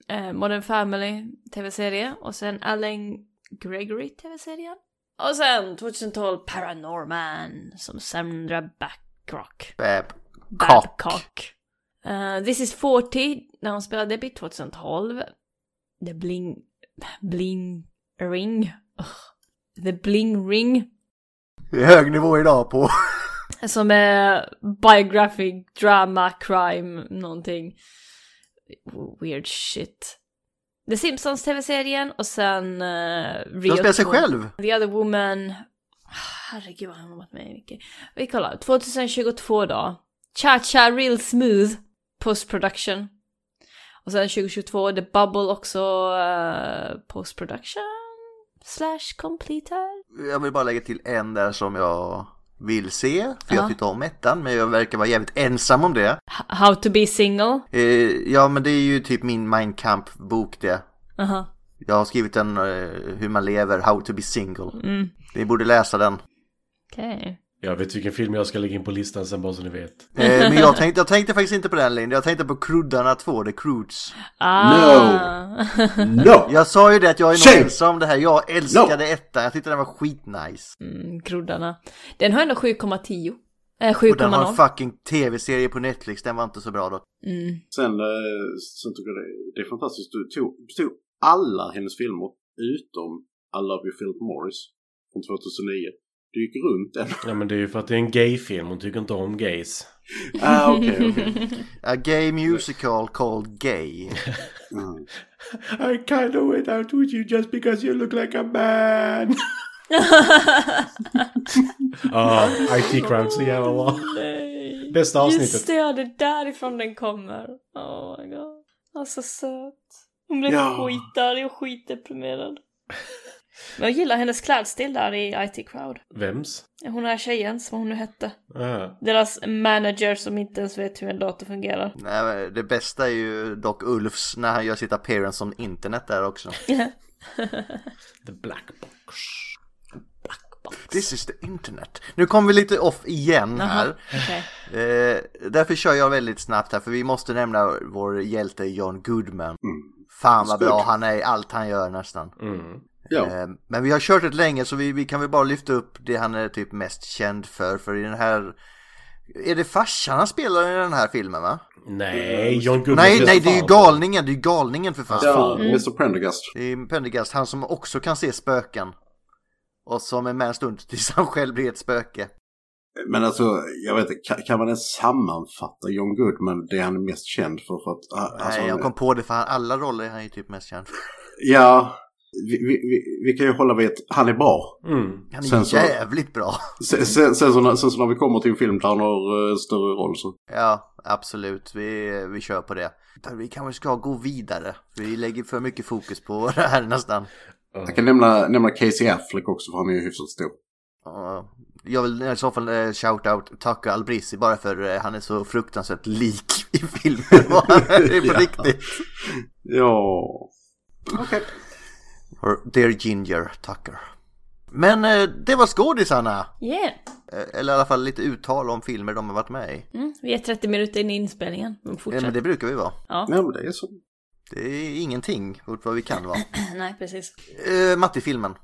A: Eh, Modern Family tv-serie och sen Allen Gregory tv-serien. Och sen 2012 Paranorman som Sandra Back Babcock.
B: Babcock.
A: Babcock. Eh, this is 40, när hon spelade debut 2012. The Bling... Bling Ring. Ugh. The Bling Ring.
B: Det är hög nivå idag på...
A: Som är biographic drama crime någonting. Weird shit. The Simpsons tv-serien och sen... Uh, Rio
B: De spelar sig
A: 2.
B: själv!
A: The Other Woman. Herregud vad han har varit med i mycket. Vi kollar. 2022 då. Cha-Cha Real Smooth. Post production. Och sen 2022 The Bubble också eh, post production. Slash completed.
B: Jag vill bara lägga till en där som jag vill se, för jag
A: Ja.
B: tyckte om ettan, men jag verkar vara jävligt ensam om det.
A: H- How to be single.
B: Eh, ja, men det är ju typ min Mein Kampf-bok det.
A: Aha.
B: Jag har skrivit en eh, hur man lever, How to be single.
A: Mm.
B: Ni borde läsa den.
A: Okej.
C: Jag vet vilken film jag ska lägga in på listan sen bara så ni vet.
B: Eh, men jag tänkte, jag tänkte faktiskt inte på den linjen, jag tänkte på Kruddarna 2, The Croods.
A: Ah.
D: No!
B: Jag sa ju det att jag är nog
D: Shame.
B: ensam om det här, jag älskade ettan, jag tyckte den var skitnice.
A: Mm, kroddarna. Den har ändå 7,10. Eh,
B: Och den har en
A: 7,0.
B: fucking tv-serie på Netflix, den var inte så bra då.
A: Mm.
D: Sen, eh, sen tycker jag det, det är fantastiskt. Du tog, du tog alla hennes filmer utom I Love You Philip Morris från 2009. Du gick runt den.
C: Ja men det är ju för att det är en gayfilm, hon tycker inte om gays.
D: *laughs* ah, okej, okej.
B: A gay musical called Gay.
D: Mm.
C: I kinda went out with you just because you look like a man!
A: *laughs*
C: *laughs* Ja, IT Crowd så jävla bra.
A: Nej.
C: Bästa
A: Just
C: avsnittet.
A: det, ja, det är därifrån den kommer. Oh my god. Han är så söt. Hon blev
D: Ja.
A: skitarg och skitdeprimerad. Men jag gillar hennes klädstil där i IT Crowd.
C: Vems?
A: Hon är tjejen, som hon nu hette.
C: Ah.
A: Deras manager som inte ens vet hur en dator fungerar.
C: *laughs*
B: Nej, men det bästa är ju dock Ulfs när han gör sitt appearance on internet där också.
C: The Black Box.
B: This is the internet. Nu kommer vi lite off igen här.
A: Okej.
B: Eh, därför kör jag väldigt snabbt här, för vi måste nämna vår hjälte John Goodman. Fan vad bra han är i allt han gör nästan.
D: *laughs* Ja,
B: Eh, men vi har kört det länge så vi, vi kan väl bara lyfta upp det han är typ mest känd för, för i den här... Är det farsan han spelar i den här filmen va?
C: Nej, John Goodman.
B: Nej,
C: spelar
B: nej, det är ju
C: fan.
B: galningen, det är ju galningen för fan.
D: ja Mr Prendergast.
B: Det är Pendergast, han som också kan se spöken. Och som är med en stund tills han själv blir ett spöke.
D: Men alltså, jag vet inte, kan, kan man ens sammanfatta John Goodman, det han är mest känd för? för att, ah, alltså,
B: Nej,
D: han-
B: jag kom på det för han- alla roller är han ju typ mest känd för.
D: Ja, vi, vi, vi, vi kan ju hålla vid att han är bra.
C: Mm.
B: Han är
D: Sen så-
B: jävligt bra. *laughs*
D: Sen, sen, sen, så, när- sen så när vi kommer till en film där han har eh, större roll så...
B: Ja, absolut. Vi, vi kör på det. Utan Vi kanske ska gå vidare. Vi lägger för mycket fokus på *laughs* det här nästan.
D: Jag kan nämna, nämna Casey Affleck också för han är ju hyfsat stor.
B: Ja, Jag vill i så fall eh, shout out Taco Albrisi bara för eh, han är så fruktansvärt lik
A: *laughs*
B: i filmen vad *laughs* han är på
D: Ja.
B: riktigt.
D: Ja...
B: Or Dear Ginger Tucker. Men eh, det var skådisarna!
A: Yeah.
B: Eh, Eller i alla fall lite uttal om filmer de har varit med i.
A: Mm, vi är 30 minuter in i inspelningen. Men
B: Eh, Men
A: fortsätt.
B: det brukar vi vara.
D: Nej, men det är så.
B: Det är ingenting mot vad vi kan vara.
A: Nej, precis.
B: Eh, Matti-filmen.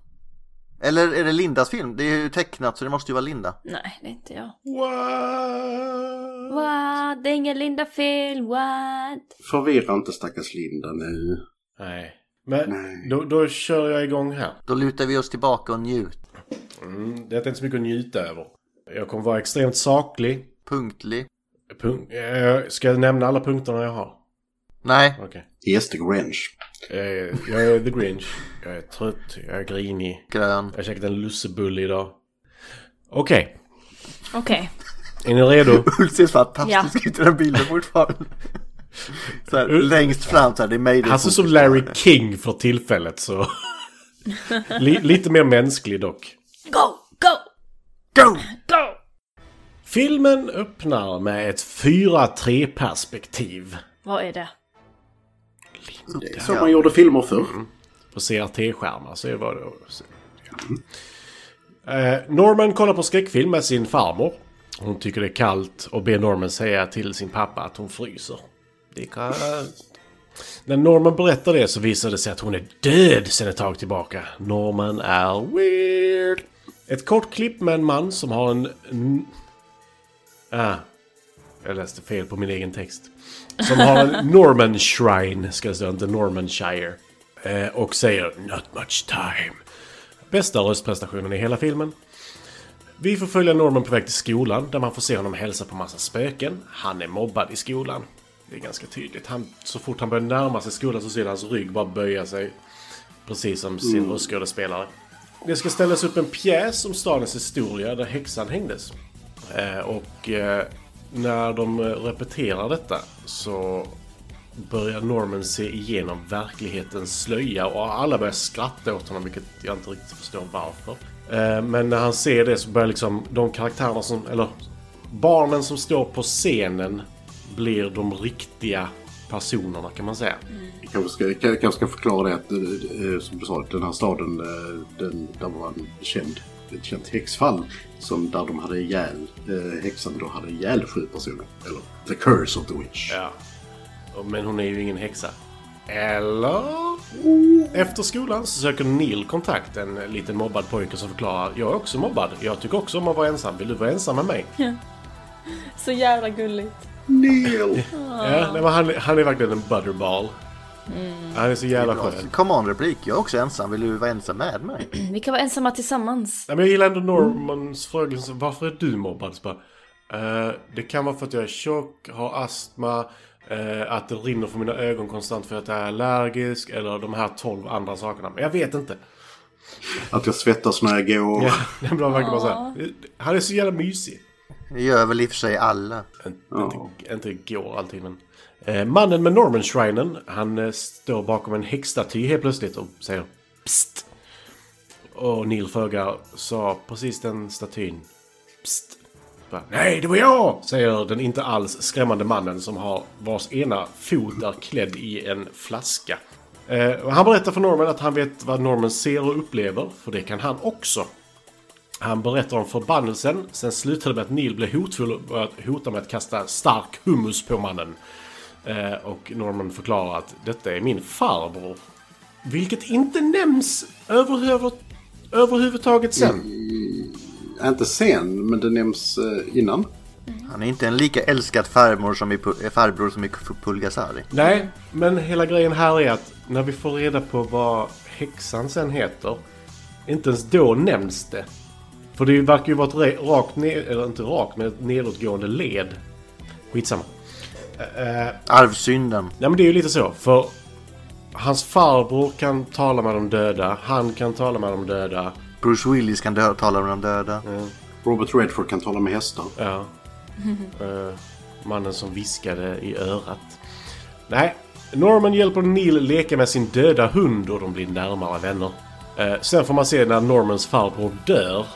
B: Eller är det Lindas film? Det är ju tecknat så det måste ju vara Linda.
A: Nej, det är inte jag.
C: What?
A: What? Det är ingen Linda fel. What?
D: Förvirra inte stackars Linda nu.
C: Nej. Men Då, då kör jag igång här.
B: Då lutar vi oss tillbaka och njut.
C: Mm, det är inte så mycket att njuta över. Jag kommer vara extremt saklig.
B: Punktlig.
C: Punk eh, ska jag nämna alla punkterna jag har?
B: Nej,
C: Okej.
D: Yes, the Grinch.
C: Eh, jag är the Grinch. Jag är trött. Jag är grinig.
B: grön.
C: Jag har käkat en lussebulle idag. Okej.
A: Okej.
C: Är ni redo?
B: Ulf ser fantastisk
A: Ja.
B: ut i den bilden fortfarande. Så här, längst fram så här, det är mig
C: Han ser ut som Larry King för tillfället så... *laughs* Li- lite mer mänsklig dock.
A: Go! Go!
B: Go!
A: Go!
C: Filmen öppnar med ett 4-3 perspektiv.
A: Vad är det?
D: Det är Mm. så man gjorde filmer förr.
C: på CRT-skärmar. Så var det. Så, ja. eh, Norman kollar på skräckfilm med sin farmor. Hon tycker det är kallt och ber Norman säga till sin pappa att hon fryser. Det är kallt. När Norman berättar det så visar det sig att hon är död sedan ett tag tillbaka. Norman är weird. Ett kort klipp med en man som har en... Ah, jag läste fel på min egen text. Som har en Norman Shrine, ska jag säga, inte Normanshire. Eh, och säger “Not much time”. Bästa röstprestationen i hela filmen. Vi får följa Norman på väg till skolan, där man får se honom hälsa på massa spöken. Han är mobbad i skolan. Det är ganska tydligt. Han, så fort han börjar närma sig skolan så ser hans rygg bara böja sig. Precis som sin röstskådespelare. Mm. Det ska ställas upp en pjäs om stadens historia där häxan hängdes. Eh, Och eh, när de eh, repeterar detta så börjar Norman se igenom verklighetens slöja och alla börjar skratta åt honom vilket jag inte riktigt förstår varför. Eh, Men när han ser det så börjar liksom de karaktärerna som, eller barnen som står på scenen blir de riktiga personerna kan man säga.
D: Jag kanske ska, jag kanske ska förklara det att, eh, eh, som du sa, den här staden eh, den, där var en känd, ett känt häxfall. Som där de hade ihjäl, eh, häxan då hade ihjäl sju personer. Eller the curse of the witch.
C: Ja. Och- Men hon är ju ingen häxa. Eller? Efter skolan så söker Neil kontakt, en liten mobbad pojke som förklarar Jag är också mobbad. Jag tycker också om att vara ensam. Vill du vara ensam med mig?
A: Så jävla gulligt.
C: *laughs*
D: Neil!
C: Ja, nej, men han, han är verkligen en butterball. Han är så jävla skön.
B: Come on replik, jag är också ensam, vill du vara ensam med mig?
A: Vi kan vara ensamma tillsammans.
C: Nej, men jag gillar ändå Normans fråga. så Varför är du mobbad? Så bara, "Eh, det kan vara för att jag är tjock, har astma, eh, att det rinner från mina ögon konstant för att jag är allergisk eller de här tolv andra sakerna. Men jag vet inte.
D: Att jag svettas när jag går.
C: Ja, den blev verkligen bara såhär. Han är så jävla mysig.
B: Det gör väl i och för sig alla.
D: Ja.
C: Inte går alltid men. Eh, mannen med Norman-shrinen, han eh, står bakom en häxstaty helt plötsligt och säger Psst! Och Neil frågar, sa precis den statyn Psst! Bara, Nej, det var jag! Säger den inte alls skrämmande mannen som har vars ena fot är klädd i en flaska. Eh, och han berättar för Norman att han vet vad Norman ser och upplever, för det kan han också. Han berättar om förbannelsen, sen slutade det med att Neil blev hotfull och började hota med att kasta stark hummus på mannen. Eh, och Norman förklarar att detta är min farbror. Vilket inte nämns överhuvud, överhuvudtaget sen.
D: Inte sen, men det nämns eh, innan.
B: Han är inte en lika älskad farmor som i, Pu- eh, farbror som i K- Pulgasari.
C: Nej, men hela grejen här är att när vi får reda på vad häxan sen heter, inte ens då nämns det. För det verkar ju vara ett re- rakt, ned, eller inte rakt, men ett nedåtgående led. Skitsamma.
B: Arvsynden.
C: Nej men det är ju lite så, för hans farbror kan tala med de döda, han kan tala med de döda.
B: Bruce Willis kan dö- tala om de döda.
C: Eh.
D: Robert Redford kan tala med hästar.
C: Ja. Eh, mannen som viskade i örat. Nej, Norman hjälper Neil leka med sin döda hund och de blir närmare vänner. Eh, sen får man se när Normans farbror dör.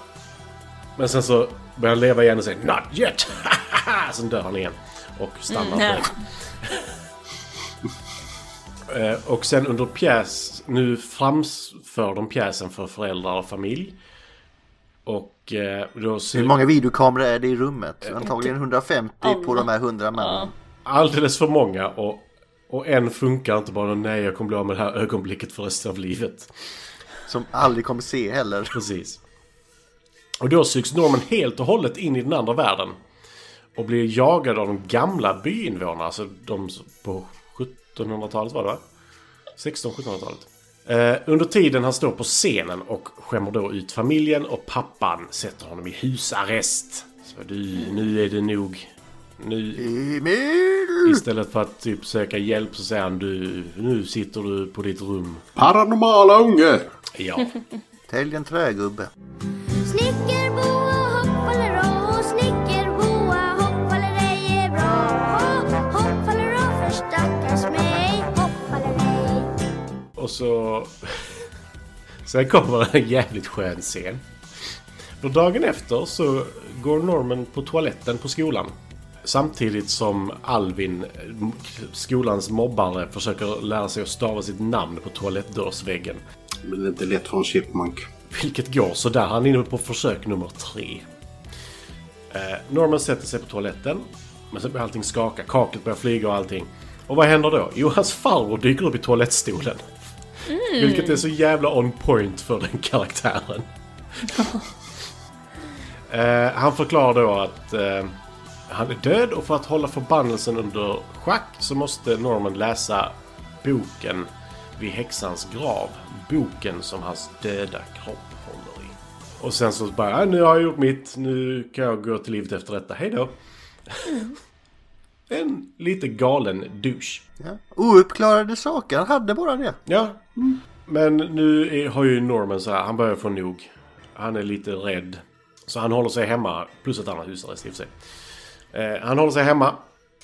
C: Men sen så börjar han leva igen och säger Not yet! *laughs* sen dör han igen. Och stannar
A: Mm.
C: på det. Eh, Och sen under pjäs, nu framför de pjäsen för föräldrar och familj. Och eh, då ser
B: Hur många videokameror är det i rummet?
C: Eh,
B: Antagligen 150 på de här 100 männen.
C: alldeles för många och, och en funkar inte bara nej jag kommer bli av med det här ögonblicket för resten av livet.
B: Som aldrig kommer se heller.
C: Precis. Och då sugs Norman helt och hållet in i den andra världen. Och blir jagad av de gamla byinvånarna, alltså de s- på 1700-talet var det va? 1600-1700-talet. Eh, under tiden han står på scenen och skämmer då ut familjen och pappan sätter honom i husarrest. Så du, nu är det nog. Nu,
B: Emil!
C: Istället för att typ söka hjälp så säger han du, nu sitter du på ditt rum.
D: Paranormala unge!
C: Ja.
B: Tälj en trägubbe.
H: Snickerboa hoppfaller och snickerboa hoppfaller ej är bra. Hopp, hoppfaller och för stackars mig, hoppfaller ej.
C: Och så... *laughs* Sen kommer en jävligt skön scen. För dagen efter så går Norman på toaletten på skolan. Samtidigt som Alvin, eh, skolans mobbare, försöker lära sig att stava sitt namn på toalettdörrsväggen.
D: Men det är inte lätt för en chipmunk.
C: Vilket går sådär. Han är inne på försök nummer tre. Eh, Norman sätter sig på toaletten. Men sen börjar allting skaka. Kaklet börjar flyga och allting. Och vad händer då? Jo, hans farbror dyker upp i toalettstolen. Vilket är så jävla on point för den karaktären. eh, han förklarar då att eh, Han är död och för att hålla förbannelsen under schack så måste Norman läsa boken vid häxans grav. Boken som hans döda kropp håller i. Och sen så bara, "Äh, nu har jag gjort mitt, nu kan jag gå till livet efter detta, hej då. *laughs* en lite galen douche.
B: Ja. Ouppklarade saker, han hade bara det.
C: Ja. Men nu är, har ju Norman så här, han börjar få nog. Han är lite rädd. Så han håller sig hemma, plus ett annat husarrest i och för sig. Eh, han håller sig hemma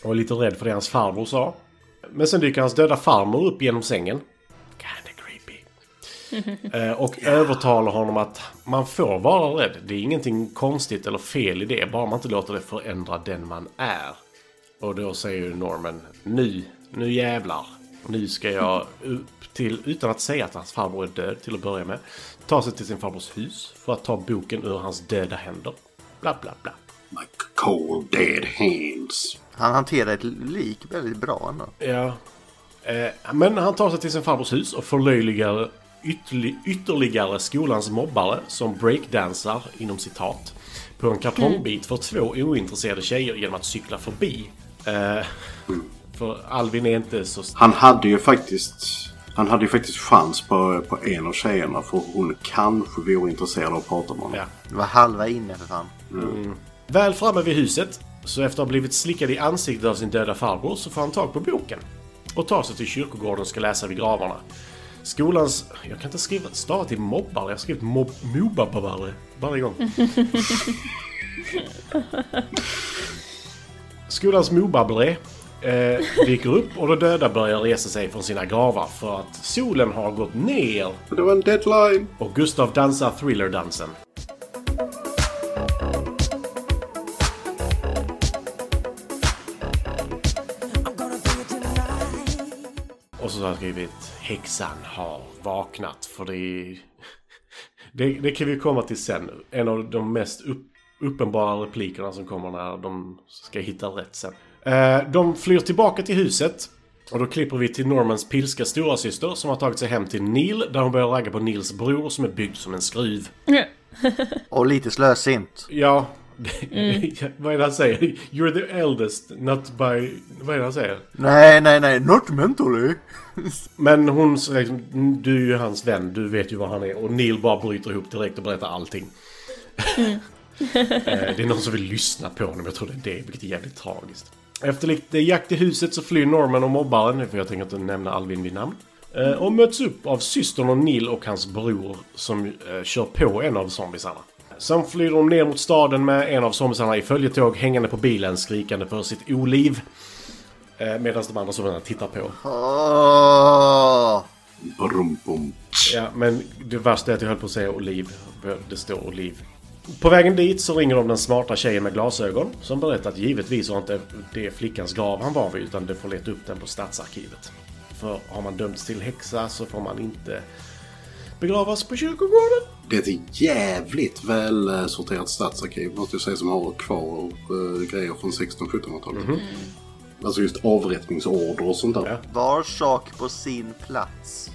C: och är lite rädd för det hans farbror sa. Men sen dyker hans döda farmor upp genom sängen. Kinda creepy. eh, och övertalar honom att man får vara rädd. Det är ingenting konstigt eller fel i det, bara man inte låter det förändra den man är. Och då säger ju Norman nu, nu jävlar. Nu ska jag upp till, utan att säga att hans farbror är död till att börja med, ta sig till sin farbrors hus för att ta boken ur hans döda händer. Bla bla bla.
D: Like cold dead hands.
B: Han hanterar ett lik väldigt bra ändå.
C: Ja. Eh, men han tar sig till sin farbrors hus och förlöjligar ytterli- ytterligare skolans mobbare som breakdansar, inom citat, på en kartongbit för två ointresserade tjejer genom att cykla förbi. Eh, för Alvin är inte så
D: Han hade ju faktiskt... Han hade ju faktiskt chans på, på en av tjejerna för hon kanske vore intresserad av att prata med honom.
C: Ja.
B: Det var halva inne för fan.
C: Väl framme vid huset, så efter att ha blivit slickad i ansiktet av sin döda farbror så får han tag på boken. Och tar sig till kyrkogården och ska läsa vid gravarna. Skolans... Jag kan inte skriva stava till mobbare, jag har skrivit mob... Mobabbare varje gång. Skolans mobabbare eh, dyker upp och de döda börjar resa sig från sina gravar för att solen har gått ner
D: Men Det var en deadline!
C: och Gustav dansar thrillerdansen. Och så har han skrivit Häxan har vaknat för det är... *laughs* Det, det kan vi komma till sen. En av de mest upp, uppenbara replikerna som kommer när de ska hitta rätt sen. Eh, de flyr tillbaka till huset. Och då klipper vi till Normans pilska storasyster som har tagit sig hem till Neil där hon börjar ragga på Nils bror som är byggd som en skruv.
B: Och lite slösint.
C: Ja, *laughs* vad är det han säger? You're the eldest, not by... Vad är det han säger?
B: Nej, nej, nej. Not mentally.
C: Men hon säger liksom, du är ju hans vän, du vet ju vad han är. Och Neil bara bryter ihop direkt och berättar allting. *laughs* Eh, det är någon som vill lyssna på honom, jag tror det är det, vilket är jävligt tragiskt. Efter lite jakt i huset så flyr Norman och mobbaren, för jag tänker inte nämna Alvin vid namn. eh, Och möts upp av systern och Neil och hans bror som eh, kör på en av zombisarna. Sen flyr de ner mot staden med en av zombisarna i följetåg hängande på bilen skrikande för sitt oliv. Eh, Medan de andra zombisarna tittar på.
B: Åh!
D: Brum, bum.
C: Ja, men det värsta är att jag höll på att säga oliv. Det står oliv. På vägen dit så ringer de den smarta tjejen med glasögon som berättar att givetvis var inte det flickans grav han var vid utan det får leta upp den på stadsarkivet. För har man dömts till häxa så får man inte begravas på kyrkogården.
D: Det är ett jävligt väl eh, sorterat stadsarkiv måste jag säga som har kvar eh, grejer från 1600-1700-talet. Alltså just avrättningsorder och sånt där.
C: Mhm. Ja.
B: Var sak på sin plats.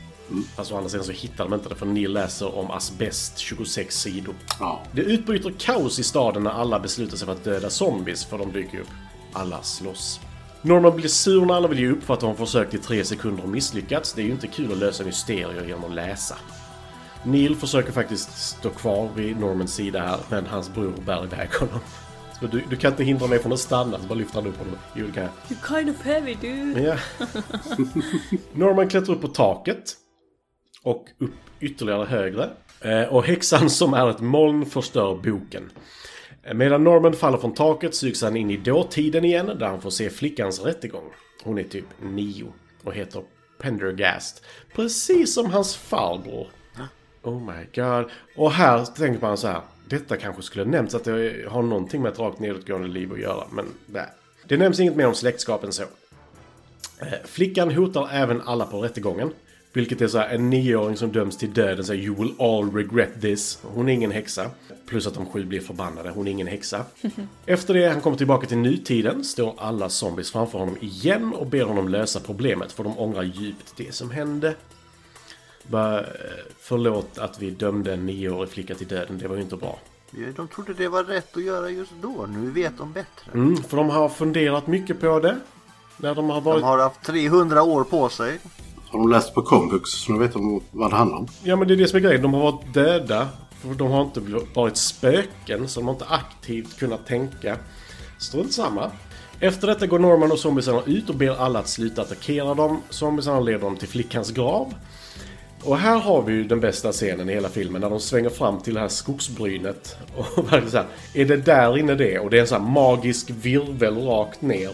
C: Fast Alltså, å andra sidan så hittar de inte det för ni läser om asbest 26 sidor.
D: Ja.
C: Det utbryter kaos i staden när alla beslutar sig för att döda zombies, för de dyker upp. Alla slåss. Norman blir sur när alla vill ge upp för att de har försökt i tre sekunder och misslyckats. Det är ju inte kul att lösa mysterier genom att läsa. Neil försöker faktiskt stå kvar vid Normans sida här, men hans bror bär iväg honom. Så du, du kan inte hindra mig från att stanna, så bara lyfter han upp honom. Jo, det kan jag.
A: You're kind of heavy dude.
C: Ja. Norman klättrar upp på taket. Och upp ytterligare högre. Eh, Och häxan som är ett moln förstör boken. Eh, Medan Norman faller från taket sugs han in i dåtiden igen där han får se flickans rättegång. Hon är typ nio och heter Pendergast. Precis som hans farbror. Oh my god. Och här tänker man så här. Detta kanske skulle nämnts att det har någonting med ett rakt nedåtgående liv att göra, men nej. Det nämns inget mer om släktskapen så. Eh, Flickan hotar även alla på rättegången. Vilket är så här, en nioåring som döms till döden säger You will all regret this. Hon är ingen häxa. Plus att de sju blir förbannade. Hon är ingen häxa. Efter det han kommer tillbaka till nutiden står alla zombies framför honom igen och ber honom lösa problemet för de ångrar djupt det som hände. Bara, eh, förlåt att vi dömde en nioårig flicka till döden. Det var ju inte bra.
B: De trodde det var rätt att göra just då. Nu vet de bättre.
C: Mm, för de har funderat mycket på det. När de har varit...
B: De har haft 300 år på sig.
D: Har de läst på komvux så nu vet de vad det handlar om.
C: Ja men det är det som är grejen. De har varit döda. För de har inte bl- varit spöken. Så de har inte aktivt kunnat tänka. Strunt samma. Efter detta går Norman och zombiesarna ut och ber alla att sluta attackera dem. Zombiesarna leder dem till flickans grav. Och här har vi ju den bästa scenen i hela filmen. När de svänger fram till det här skogsbrynet. Och *laughs* verkligen så här, Är det där inne det? Och det är en så här magisk virvel rakt ner.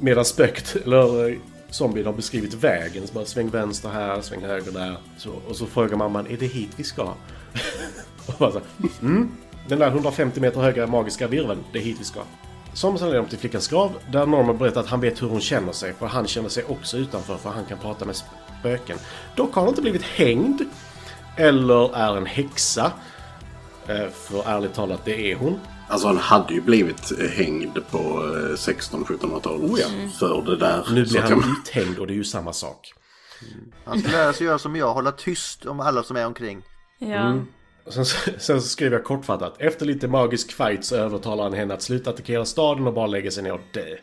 C: Medan spöket, *laughs* eller eh, zombien har beskrivit vägen. Så bara sväng vänster här, sväng höger där. Så, och så frågar mamman, är det hit vi ska? *laughs* och bara så här, mm, den där 150 meter höga magiska virveln, det är hit vi ska. Som sen leder de till flickans grav, där Norman berättar att han vet hur hon känner sig, för han känner sig också utanför, för han kan prata med spöken. Dock har han inte blivit hängd, eller är en häxa. Eh, För ärligt talat, det är hon.
D: Alltså han hade ju blivit eh, hängd på eh, 1600-1700-talet.
C: Oh ja.
A: Mm.
D: För det där.
C: Nu
D: Så
C: blir
D: att jag-
C: han uthängd och det är ju samma sak.
B: Han ska lära sig göra som jag, hålla tyst om alla som är omkring.
A: Ja.
B: Mm.
C: Sen, sen så *laughs* skriver jag kortfattat. Efter lite magisk fight så övertalar han henne att sluta attackera staden och bara lägga sig ner och dö.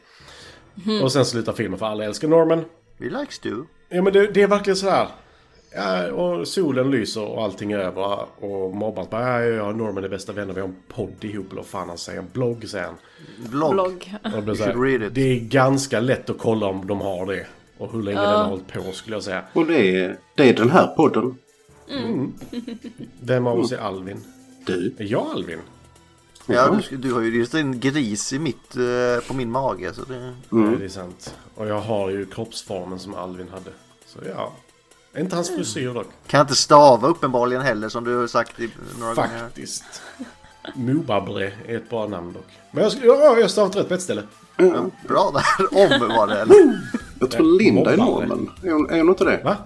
C: Och sen slutar filmen för alla älskar Norman.
B: We like Stu.
C: Ja men det, det är verkligen så här. Ja, och solen lyser och allting är över och mobban bara ja, jag och Norman är bästa vänner, vi har en podd ihop eller vad fan han säger, en blogg säger han.
B: Vlogg.
A: Blogg.
C: Och det blir så
B: should read
C: här,
B: it.
C: det är ganska lätt att kolla om de har det. Och hur länge den har hållit på skulle jag säga.
D: Och det är, det är den här podden.
C: Vem av oss är Alvin?
D: Du.
C: Är jag Alvin?
B: Ja, du, ska- du har ju just en gris i mitt, eh, på min mage. Så det...
C: Ja, det är sant. Och jag har ju kroppsformen som Alvin hade. Så ja. Inte hans frisyr dock.
B: Kan inte stava uppenbarligen heller som du har sagt i, några gånger.
C: Faktiskt. Mubabre är ett bra namn dock. Men jag, sk- ja, jag har stavat rätt på ett ställe.
B: Bra där, *laughs* om var det eller?
D: Jag tror Linda är
C: mobbare.
D: normen. Är hon, är hon inte det?
C: Va?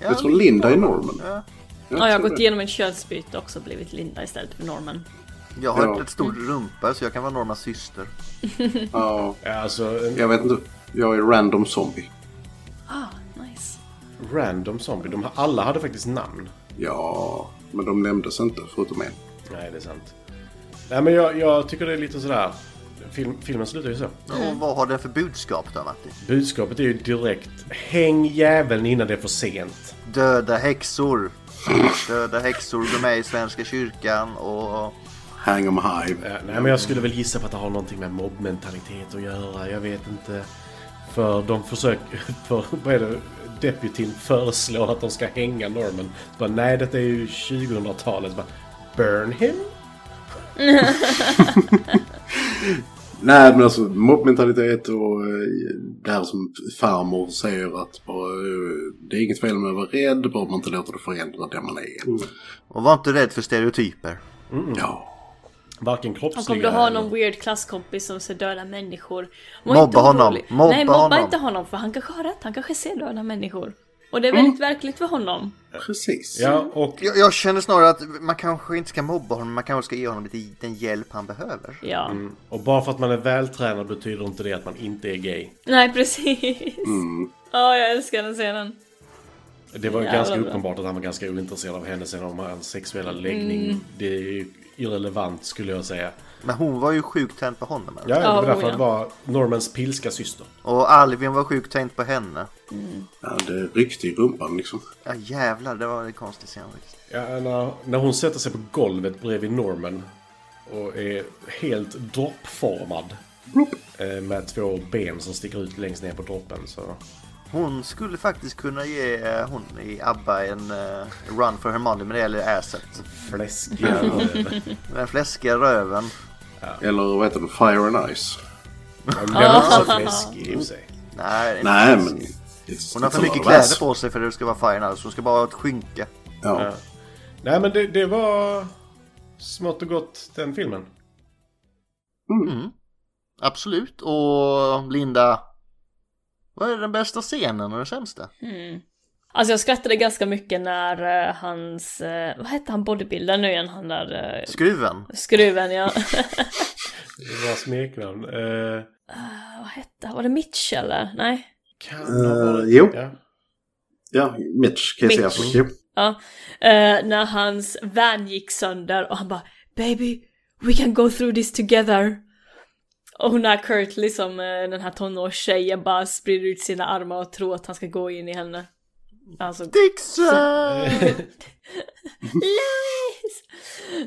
D: Jag tror Linda är normen.
B: Ja.
A: Ja, jag har
D: tror
A: gått
D: det.
A: igenom en könsbyte också och blivit Linda istället för Norman.
B: Jag har
D: Ja.
B: ett stort rumpa så jag kan vara Normas syster.
D: Ja,
C: Ja, Alltså, en
D: jag vet inte. Jag är random zombie.
A: Ah, nice.
C: random zombie. De, alla hade faktiskt namn.
D: Ja, men de nämndes inte förutom en.
C: Nej, det är sant. Nej, men jag, jag tycker det är lite sådär. Film, filmen slutar ju så.
B: Och vad har den för budskap då Matti?
C: Budskapet är ju direkt. Häng jäveln innan det är för sent.
B: Döda häxor. Döda häxor går med i Svenska kyrkan och
D: Hang 'em hive.
C: Ja, nej, men jag skulle väl gissa på att det har någonting med mobbmentalitet att göra. Jag vet inte. För de försöker... *laughs* För, vad är det? Deputin föreslår att de ska hänga Norman. Så bara, nej, detta är ju 2000-talet. Så Bara, Burn him?
D: Nej, men alltså mobbmentalitet och eh, det här som farmor säger att bara, eh, det är inget fel med att vara rädd, bara man inte låter det förändra det man är.
C: Mm.
B: Och var inte rädd för stereotyper.
D: Ja.
C: Varken
A: Han
C: kroppsliga
A: kommer du ha
C: eller-
A: någon weird klasskompis som ser döda människor. Var
B: Mobba
A: inte
B: honom.
A: orolig.
B: Mobba
A: Nej, mobba
B: honom.
A: inte honom för han kanske har rätt. Han kanske ser döda människor. Och det är väldigt
B: Mm.
A: verkligt för honom.
D: Precis.
C: Ja, och
B: Jag, jag känner snarare att man kanske inte ska mobba honom, man kanske ska ge honom lite den hjälp han behöver.
A: Ja.
C: Och bara för att man är vältränad betyder inte det att man inte är gay.
A: Nej, precis. Ja, jag älskar den scenen.
C: Det var ju
A: Jävlar
C: ganska
A: bra.
C: uppenbart att han var ganska ointresserad av henne sen om hans sexuella läggning. Det är ju irrelevant skulle jag säga.
B: Men hon var ju sjukt tänd på honom. eller?
C: Ja, det
A: Ja,
C: var
A: oh,
C: därför
A: ja.
C: det var Normans pilska syster.
B: Och Alvin var sjukt tänd på henne.
D: Ja, det ryckte i rumpan liksom.
B: Ja jävlar, det var en konstig scen faktiskt.
C: Ja, när, när hon sätter sig på golvet bredvid Norman och är helt droppformad. eh, Med två ben som sticker ut längst ner på droppen. Så.
B: Hon skulle faktiskt kunna ge eh, hon i ABBA en eh, run för Hermione men det gäller asset.
C: Fläskiga röv.
B: Den fläskiga röven.
D: Eller vad heter det? Fire and Ice.
C: Den var inte så fläskig i och för sig.
B: Nej, det är
D: Nej,
B: inte
D: men...
B: fläskig.
D: it's-
B: Hon har för
D: it's a
B: mycket
D: lot of ass.
B: kläder på sig för att det ska vara fine alltså. Hon ska bara ha ett skynke.
D: Ja.
C: Nej men det, det var smått och gott den filmen.
B: Absolut. Och Linda. Vad är den bästa scenen och den sämsta?
A: Alltså jag skrattade ganska mycket när eh, hans, eh, vad hette han bodybuildern nu igen, han där uh,
B: Skruven.
A: skruven ja. *laughs*
C: Det var smeknamn. Eh,
A: vad hette han, var det Mitch eller? Nej?
C: kan ha varit...
D: Eh, jo.
C: Ja.
D: Ja, Mitch Casey
A: Mitch.
D: Affleck.
A: Ja. Eh, när hans van gick sönder och han bara Baby, we can go through this together. Och hon är Kurt, liksom eh, den här tonårstjejen, bara sprider ut sina armar och tror att han ska gå in i henne. Alltså,
B: Dixon!
A: Lies!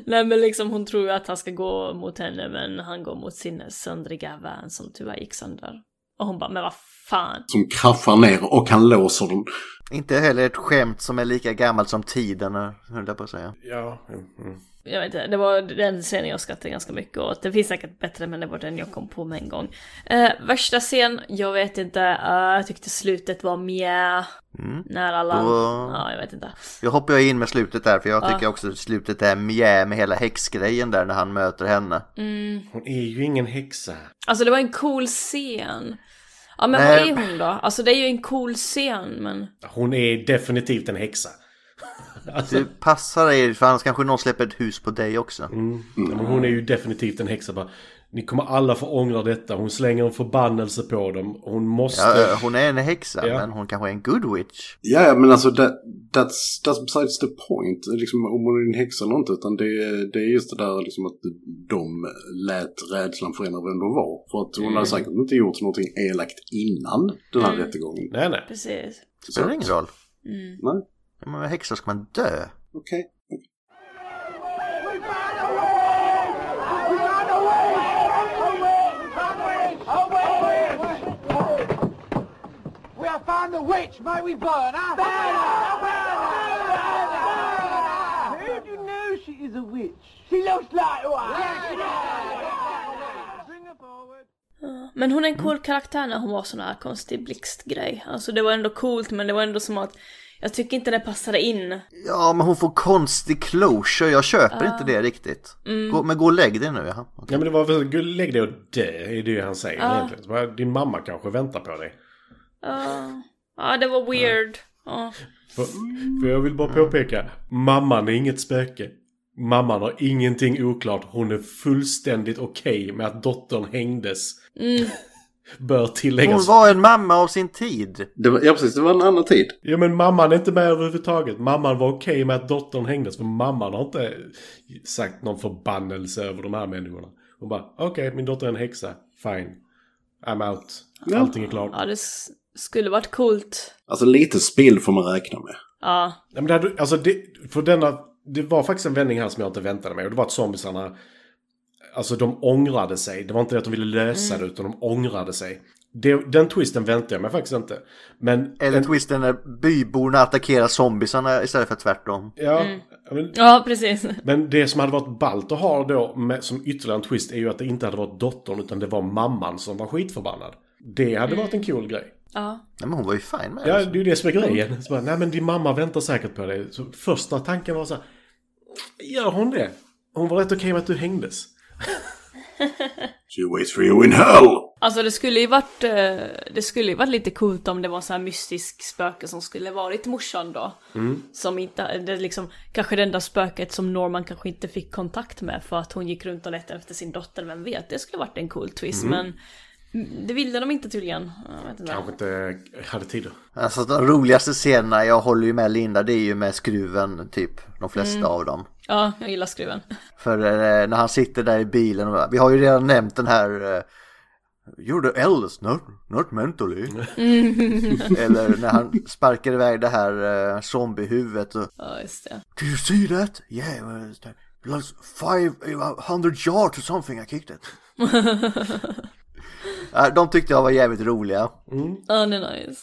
A: Nej men liksom hon tror ju att han ska gå mot henne men han går mot sin söndriga vän som tyvärr gick sönder. Och hon bara men vad fan.
D: Som kraschar ner och han låser den.
B: Inte heller ett skämt som är lika gammalt som tiden, höll jag på att säga.
C: Ja, mm, mm.
A: Jag vet inte, det var den scenen jag skrattade ganska mycket åt. Det finns säkert bättre men det var den jag kom på med en gång. Eh, värsta scen, jag vet inte. Eh, jag tyckte slutet var mjä.
B: Mm.
A: När alla...
B: Då-
A: Ja, jag vet inte.
B: Jag hoppar ju in med slutet där, för jag
A: Ja.
B: tycker också att slutet är mjä med hela häxgrejen där när han möter henne.
C: Hon är ju ingen häxa.
A: Alltså det var en cool scen. Ja men
B: Nej.
A: vad är hon då? Alltså det är ju en cool scen men...
C: Hon är definitivt en häxa. alltså,
B: Du passar er, för annars kanske någon släpper ett hus på dig också.
C: men hon är ju definitivt en häxa. Bara, ni kommer alla få ångra detta. Hon slänger en förbannelse på dem. Hon måste...
B: Ja, hon är en häxa,
C: Ja.
B: men hon kanske är en good witch.
D: Ja, ja, men alltså that, that's, that's besides the point. Liksom, om hon är en häxa eller inte. Utan det, är- det är just det där liksom, att de lät rädslan förändra vem de var. För att hon hade säkert inte gjort någonting elakt innan den här rättegången.
C: Nej, nej.
A: Precis.
B: Spelar ingen roll.
D: Nej,
B: Men med häxa ska man dö.
D: okej.
I: We'll find the witch, may we burn her! Burn her! Burn her! How do you know she is a witch? She looks like one! Bring her forward.
A: Men hon är en cool karaktär när hon var sån här konstig blixtgrej. Alltså det var ändå coolt men det var ändå som att jag tycker inte det passade in.
B: Ja, men hon får konstig closure. Jag köper inte det riktigt. Gå, men gå och lägg dig nu, ja.
C: Ja, men det var väl, "Gud, lägg dig och dö, är det ju han säger egentligen. Så bara, Din mamma kanske väntar på dig.
A: Ja, Ja, det var weird. Ja.
C: För, för jag vill bara påpeka, mamman är inget spöke. Mamman har ingenting oklart. Hon är fullständigt okej med att dottern hängdes. *laughs* Bör
B: Hon
C: tilläggas.
B: var en mamma av sin tid.
D: Det var Ja, precis. Det var en annan tid.
C: Ja men mamman är inte med överhuvudtaget. Mamman var okej med att dottern hängdes. För mamman har inte sagt någon förbannelse över de här människorna. Hon bara, okej min dotter är en häxa. Fine. I'm out. Allting är klart.
A: ja, det s- skulle varit coolt.
D: Alltså lite spill får man räkna med.
A: Ja,
C: Nej, men det, hade, alltså det, för denna, det var faktiskt en vändning här som jag inte väntade mig. Och det var att zombisarna, alltså de ångrade sig. Det var inte det att de ville lösa det, utan de ångrade sig. Det, den twisten väntade jag mig faktiskt inte. Men...
B: Eller
C: en,
B: twisten när byborna attackerar zombisarna istället för tvärtom.
C: ja, men,
A: ja precis.
C: men det som hade varit ballt att ha då, med, som ytterligare en twist, är ju att det inte hade varit dottern, utan det var mamman som var skitförbannad. Det hade varit en cool grej.
A: Ja.
B: Nej, men hon var ju fine med
C: Ja,
B: det.
C: det är ju det som är grejen. Så bara, nej men din mamma väntar säkert på dig. Så första tanken var så här, gör hon det? Hon var rätt okej med att du hängdes.
D: She waits for you in hell!
A: Alltså det skulle ju varit, eh, det skulle ju varit lite coolt om det var så här mystisk spöke som skulle varit morsan då. Som inte, det är liksom, kanske det enda spöket som Norman kanske inte fick kontakt med för att hon gick runt och letade efter sin dotter, vem vet? Det skulle varit en cool twist men mm, det ville de inte tydligen. Jag vet inte.
C: Kanske inte hade tid.
B: Alltså de roligaste scenerna, jag håller ju med Linda, det är ju med skruven typ. De flesta av dem.
A: Ja, jag gillar skruven.
B: För eh, när han sitter där i bilen och bara, vi har ju redan nämnt den här eh, You're the eldest, not, not mentally. *laughs* Eller när han sparkar iväg det här eh, zombiehuvudet och
A: Ja, just det.
B: Do you see that? Yeah, well, it's like plus five uh, hundred yards or something I kicked it. Eh, De tyckte jag var jävligt roliga.
A: Ja, det är nice.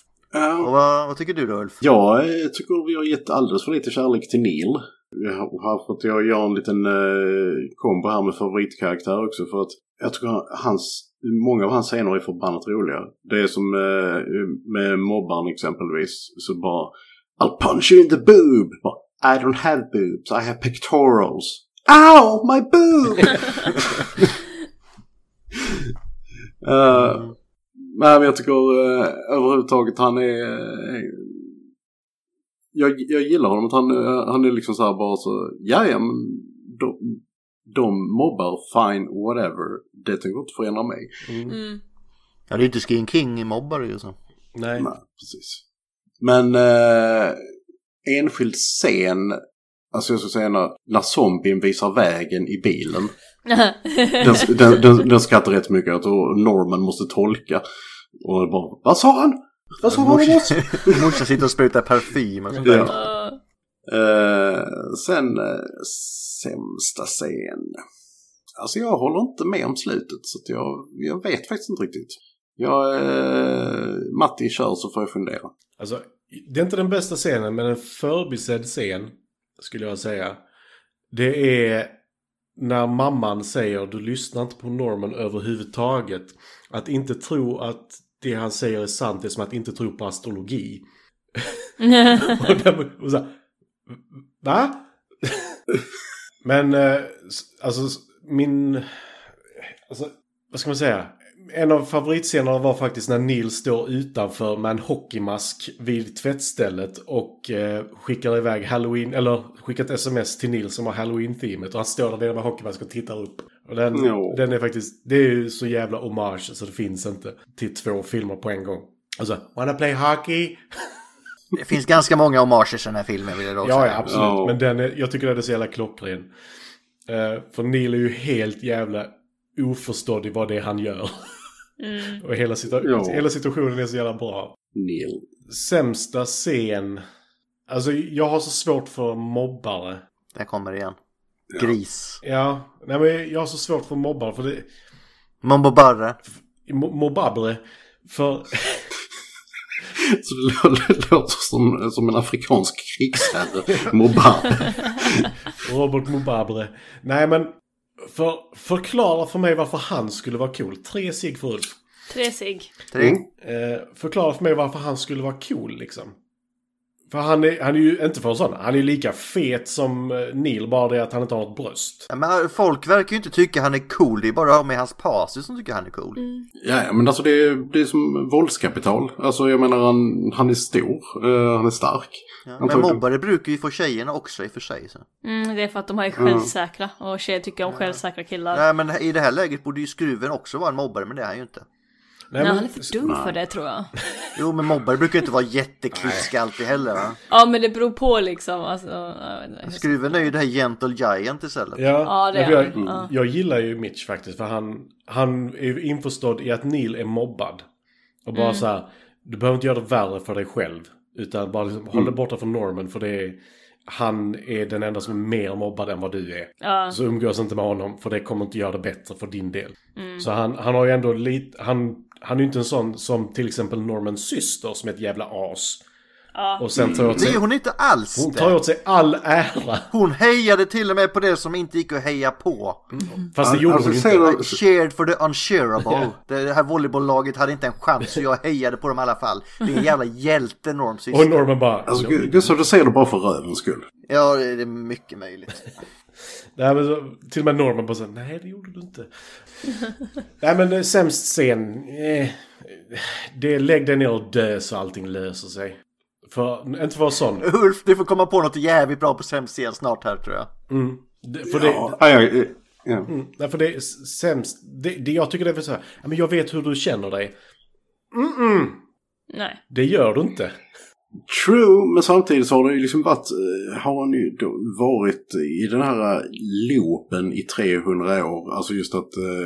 B: Och vad, vad tycker du då Ulf?
D: Ja, jag eh, tycker vi har gett alldeles för lite kärlek till Neil. Jag har här fått jag göra en liten eh, kombo här med favoritkaraktär också för att jag tycker han- hans, många av hans scener är förbannat roliga. Det är som eh, med mobbaren exempelvis, så bara I'll punch you in the boob! Bara, I don't have boobs, I have pectorals. Ow, my boob! Eh, Nej, men jag tycker eh, överhuvudtaget han är... eh, jag, jag gillar honom att han, eh, han är liksom så här bara så... Ja, ja, men de, de mobbar, fine, whatever. Det tänker inte förändra mig.
A: Mm.
B: Ja, det är inte Skin King-mobbar ju så.
C: Nej.
D: Nej, precis. Men eh, enskild scen Alltså jag skulle säga när, när zombien visar vägen i bilen.
A: *laughs*
D: Den, den, den, den skrattar rätt mycket åt och Norman måste tolka. Och bara, vad sa han? Vad sa han om oss?
B: *laughs* Morsan sitter och sprutar parfym och sånt där.
D: Ja. Eh, sen eh, sämsta scen. Alltså jag håller inte med om slutet så att jag, jag vet faktiskt inte riktigt. Jag, eh, Matti kör så får jag fundera.
C: Alltså, det är inte den bästa scenen, men en förbisedd scen skulle jag säga. Det är när mamman säger du lyssnar inte på Norman överhuvudtaget. Att inte tro att det han säger är sant är som att inte tro på astrologi. och där, och så här, va? men eh, s- alltså s- min... Alltså, vad ska man säga? En av favoritscenerna var faktiskt när Neil står utanför med en hockeymask vid tvättstället och eh, skickar iväg halloween, eller skickar ett sms till Neil som har halloween-teamet och han står där nere med hockeymask och tittar upp. Och den,
D: Ja.
C: den är faktiskt, det är ju så jävla hommage så det finns inte till två filmer på en gång. Alltså, wanna play hockey?
B: Det finns ganska många homager i den här filmen vill jag då
C: Ja,
B: säga.
C: ja absolut.
D: Ja.
C: Men den är, jag tycker den är så jävla klockren. Eh, för Neil är ju helt jävla oförstådd i vad det är han gör. *laughs* Och hela, situa-
D: Ja.
C: hela situationen är så jävla bra.
D: Neil.
C: Sämsta scen. Alltså jag har så svårt för mobbare.
B: Där kommer det igen. Gris.
C: Ja, nej men jag har så svårt för mobbare. För det,
B: Mambo Barre.
C: mo- mobbabre. För
D: *laughs*
C: *laughs*
D: Så det lå- det låter som, som en afrikansk krigsherre. *laughs* Mobbar.
C: Robert Mugabe. Nej men. För, förklara för mig varför han skulle vara cool. Tre cigg för Ulf.
A: Tre cigg.
B: Tre.
C: Eh, förklara för mig varför han skulle vara cool liksom. För han är, han är ju inte för sån. Han är lika fet som eh, Neil, bara det att han inte har ett bröst.
B: Ja, men äh, folk verkar ju inte tycka han är cool. Det är bara med hans pastor som tycker han är cool.
D: Ja, ja, men alltså det är, det är som våldskapital. Alltså jag menar han, han är stor, eh, han är stark.
B: Ja, men
D: Antagligen.
B: mobbare brukar ju få tjejerna också i och för sig. Så.
A: Mm, det är för att de här är självsäkra och tjejer tycker om självsäkra killar.
B: Nej, men i det här läget borde ju skruven också vara en mobbare, men det är han ju inte.
C: Nej,
A: Nej,
C: men-
A: han är för dum för det tror jag.
B: Jo, men mobbare brukar ju inte vara jätteklisk alltid heller. Va?
A: Ja men det beror på liksom. Alltså, jag vet inte.
B: Skruven är ju det här gentle giant istället.
C: Ja,
A: Ja, det
C: nej,
A: är
C: för jag,
A: han.
C: Mm.
A: Ja.
C: jag gillar ju Mitch faktiskt för han, han är ju införstådd i att Neil är mobbad. Och
A: Mm.
C: bara så här, du behöver inte göra det värre för dig själv. Utan bara liksom,
A: Mm.
C: håll dig borta från Norman för det är, han är den enda som är mer mobbad än vad du är.
A: Ja.
C: Så umgås inte med honom för det kommer inte göra det bättre för din del.
A: Mm.
C: Så han, han har ju ändå lite, han, han är ju inte en sån som till exempel Normans syster som är ett jävla as. Och sen tar jag åt
B: Det
C: sig,
B: är Mm. hon inte alls
C: hon tar
B: Mm. det.
C: åt sig all ära.
B: Hon hejade till och med på det som inte gick att heja på.
C: Fast det
D: Han-
C: gjorde
D: alltså,
C: hon ju
D: säger
C: inte.
D: de-
B: I cheered
C: *laughs*
B: for the unshareable. Det här volleybollaget hade inte en chans så jag hejade på dem i alla fall. Det är en jävla hjälte Norm syster.
C: Och Norman bara...
D: Alltså Gu- Gustav, du säger det bara för rövens skull.
B: Ja, det är mycket möjligt.
C: Nej, men så, till och med Norman bara så, nej det gjorde du inte. nej men eh, sämst scen. Eh, det är lägg dig ner och dö så allting löser sig. För, inte för att vara sån.
B: Ulf, du får komma på något jävligt bra på sämst scen snart här tror jag.
C: Det- För det,
D: Ja, ja, ja, ja.
C: nej, för det är s- sämst. Det, det jag tycker det är för så här, "Ja, men jag vet hur du känner dig.
A: Nej.
C: Det gör du inte.
D: True, men samtidigt så har det ju liksom varit, eh, har han ju då varit i den här eh, loopen i 300 år. Alltså just att eh,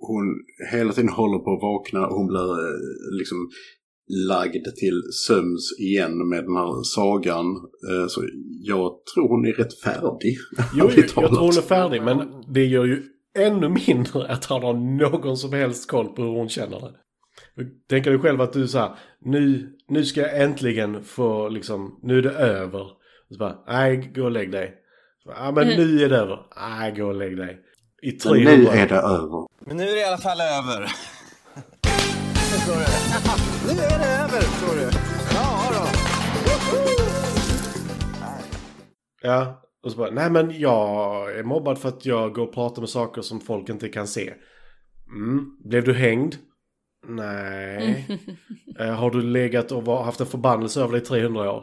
D: hon hela tiden håller på att vakna och hon blir eh, liksom lagd till sömns igen med den här sagan. Eh, så jag tror hon är rätt färdig. *laughs*
C: Jo,
D: ärligt
C: jag, jag tror
D: talat.
C: hon är färdig, men det gör ju ännu mindre att han har någon som helst koll på hur hon känner det. Tänker du själv att du så här, nu, nu ska jag äntligen få liksom, nu är det över. Och så bara, nej, gå och lägg dig. Så bara, Ja, men nu är det över. Nej, gå och lägg dig. I
D: Men
C: 300.
D: Nu är det över.
J: Men nu är det i alla fall över. Förstår du? nu är det över, förstår du. Ja, då.
C: Ja, och så bara, nej men jag är mobbad för att jag går och pratar med saker som folk inte kan se. Mm. Blev du hängd? Nej. eh, har du legat och var, haft en förbannelse över dig i 300 år?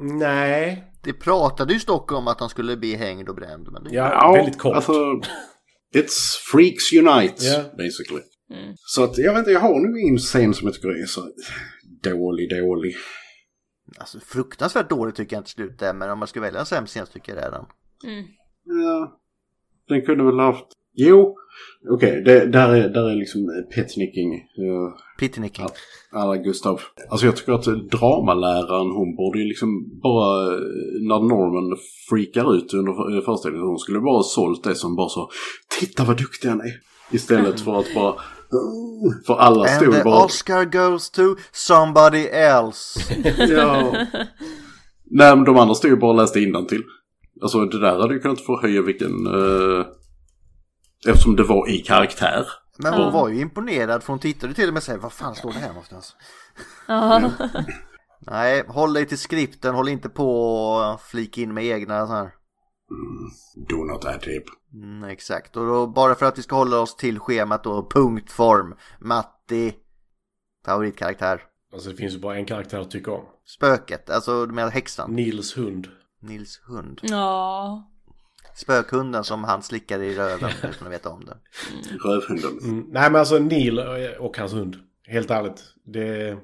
C: Mm, nej.
B: Det pratade ju Stockholm om att han skulle bli hängd och bränd. Men det...
C: Ja,
D: Ja,
C: väldigt kort.
D: Alltså, it's freaks unite,
C: Ja.
D: basically. Så att, jag vet inte, jag har nog ingen scen som jag tycker är så dålig, dålig.
B: Alltså fruktansvärt dålig tycker jag inte slut är, men om man ska välja en sämst scen så tycker jag det är den.
A: Mm.
D: Ja. Den kunde väl haft... Jo! Okej, det- där, är, där är liksom petnicking. eh,
B: Pittenicking.
D: Alla Gustav. Alltså jag tycker att dramaläraren hon borde ju liksom bara eh, när Norman freakar ut under för- eh, föreställningen. Hon skulle bara ha sålt det som bara så Titta vad duktig han är! Istället för att bara För alla
B: And
D: stod
B: the
D: bara
B: Oscar goes to somebody else.
D: ja. Nej men de andra stod ju bara och läste innantill. Alltså det där hade ju kunnat förhöja vilken eh, Eftersom det var i karaktär.
B: Men hon var ju imponerad för hon tittade till och med och vad fan står det här någonstans?
A: Ja.
B: Nej, håll dig till skripten, håll inte på och flika in med egna så här.
D: Do not add tape.
B: Mm, exakt, och då bara för att vi ska hålla oss till schemat då, punktform. Matti, favoritkaraktär.
C: Alltså det finns ju bara en karaktär att tycka om.
B: Spöket, alltså du menar häxan?
C: Nils hund.
B: Nils hund.
A: Ja.
B: Spökhunden som han slickade i röven utan att veta om det.
D: Rövhunden.
C: Mm. Nej men alltså Neil eh, och hans hund. Helt ärligt. Det...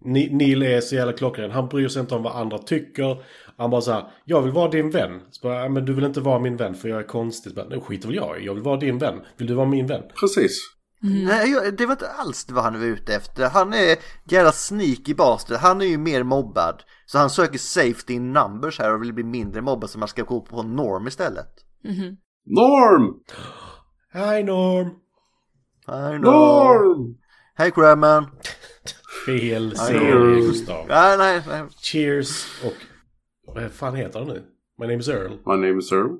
C: Ni- Neil är så jävla klockren. Han bryr sig inte om vad andra tycker. Han bara så här, jag vill vara din vän. Så bara, "Ja, men du vill inte vara min vän för jag är konstig. Så bara, "Nej, skiter väl jag i. Jag vill vara din vän. Vill du vara min vän?
D: Precis.
B: Nej, jag- det var inte alls vad han var ute efter. Han är jävla sneaky bastard. Han är ju mer mobbad. Så han söker safety in numbers här och vill bli mindre mobbad så man ska gå på norm istället.
D: Norm!
C: Hej Norm!
B: I know.
D: Norm!
B: Hej Crabman!
C: Fel serie Gustav.
B: Ja, nej, nej.
C: Cheers och... Vad fan heter han nu? My name is Earl.
D: My name is Earl.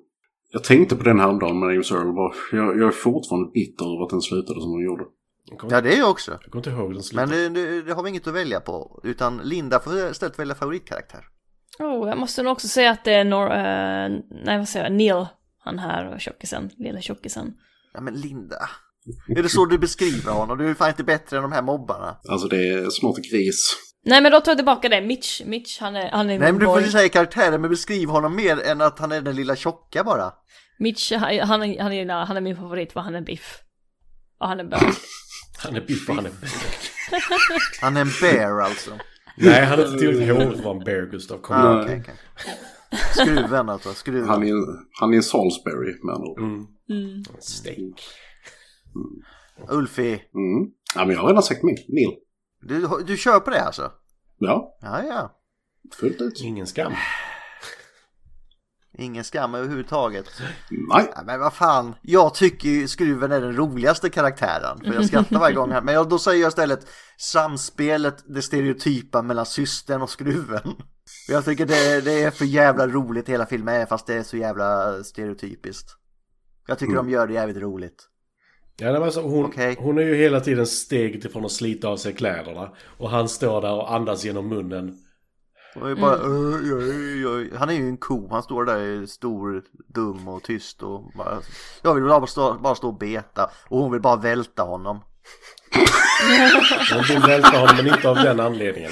D: Jag tänkte på den häromdagen, My name is Earl. Bara, jag, jag är fortfarande bitter över att den slutade som den gjorde.
C: Jag kommer,
B: Ja, det är jag också.
C: jag kommer inte ihåg hur den slutar.
B: Men det, det, det har vi inget att välja på. Utan Linda får istället välja favoritkaraktär.
A: Oh, jag måste nog också säga att det är Nor- eh, nej, vad säger jag? Neil, han här tjockisen, lilla tjockisen.
B: Ja, men Linda. Är det så du beskriver honom? Du är ju fan inte bättre än de här mobbarna.
D: Alltså det är smart gris.
A: Nej men då tar jag tillbaka det, Mitch, Mitch han är, han är
B: Nej, men du får
A: boy.
B: ju säga karaktären, men beskriv honom mer än att han är den lilla tjocka bara.
A: Mitch, han, han, är, han, är, han är min favorit för han är biff. Och han är bög.
C: Han är biff och han är...
B: Han är en bear alltså. Ah,
C: Nej, han är inte tillräckligt hård för att vara en bear Gustav. Kom igen.
D: Nej.
B: Okej, okej. Skruven alltså, skruven.
D: Han är, han är en Salisbury med andra ord.
C: Steak.
B: Ulfi,
D: Mm. Ja, men jag har redan sagt min. Neil.
B: du, du kör på det alltså?
D: Ja,
B: Ja, ja.
D: fullt ut.
C: Ingen skam.
B: Ingen skam överhuvudtaget.
D: Nej.
B: Ja, men vad fan, jag tycker ju skruven är den roligaste karaktären. För jag skrattar varje gång här. Men jag, då säger jag istället samspelet, det stereotypa mellan systern och skruven. För Jag tycker det, det är för jävla roligt hela filmen är, fast det är så jävla stereotypiskt. Jag tycker de gör det jävligt roligt.
C: Ja, nej, men alltså, hon,
B: Okej.
C: hon är ju hela tiden steget ifrån att slita av sig kläderna. Och han står där och andas genom munnen.
B: Och är bara, "Oj, oj, oj." Han är ju en ko, han står där stor, dum och tyst och bara, jag vill bara stå, bara stå och beta och hon vill bara välta honom.
C: Hon vill välta honom, men inte av den anledningen.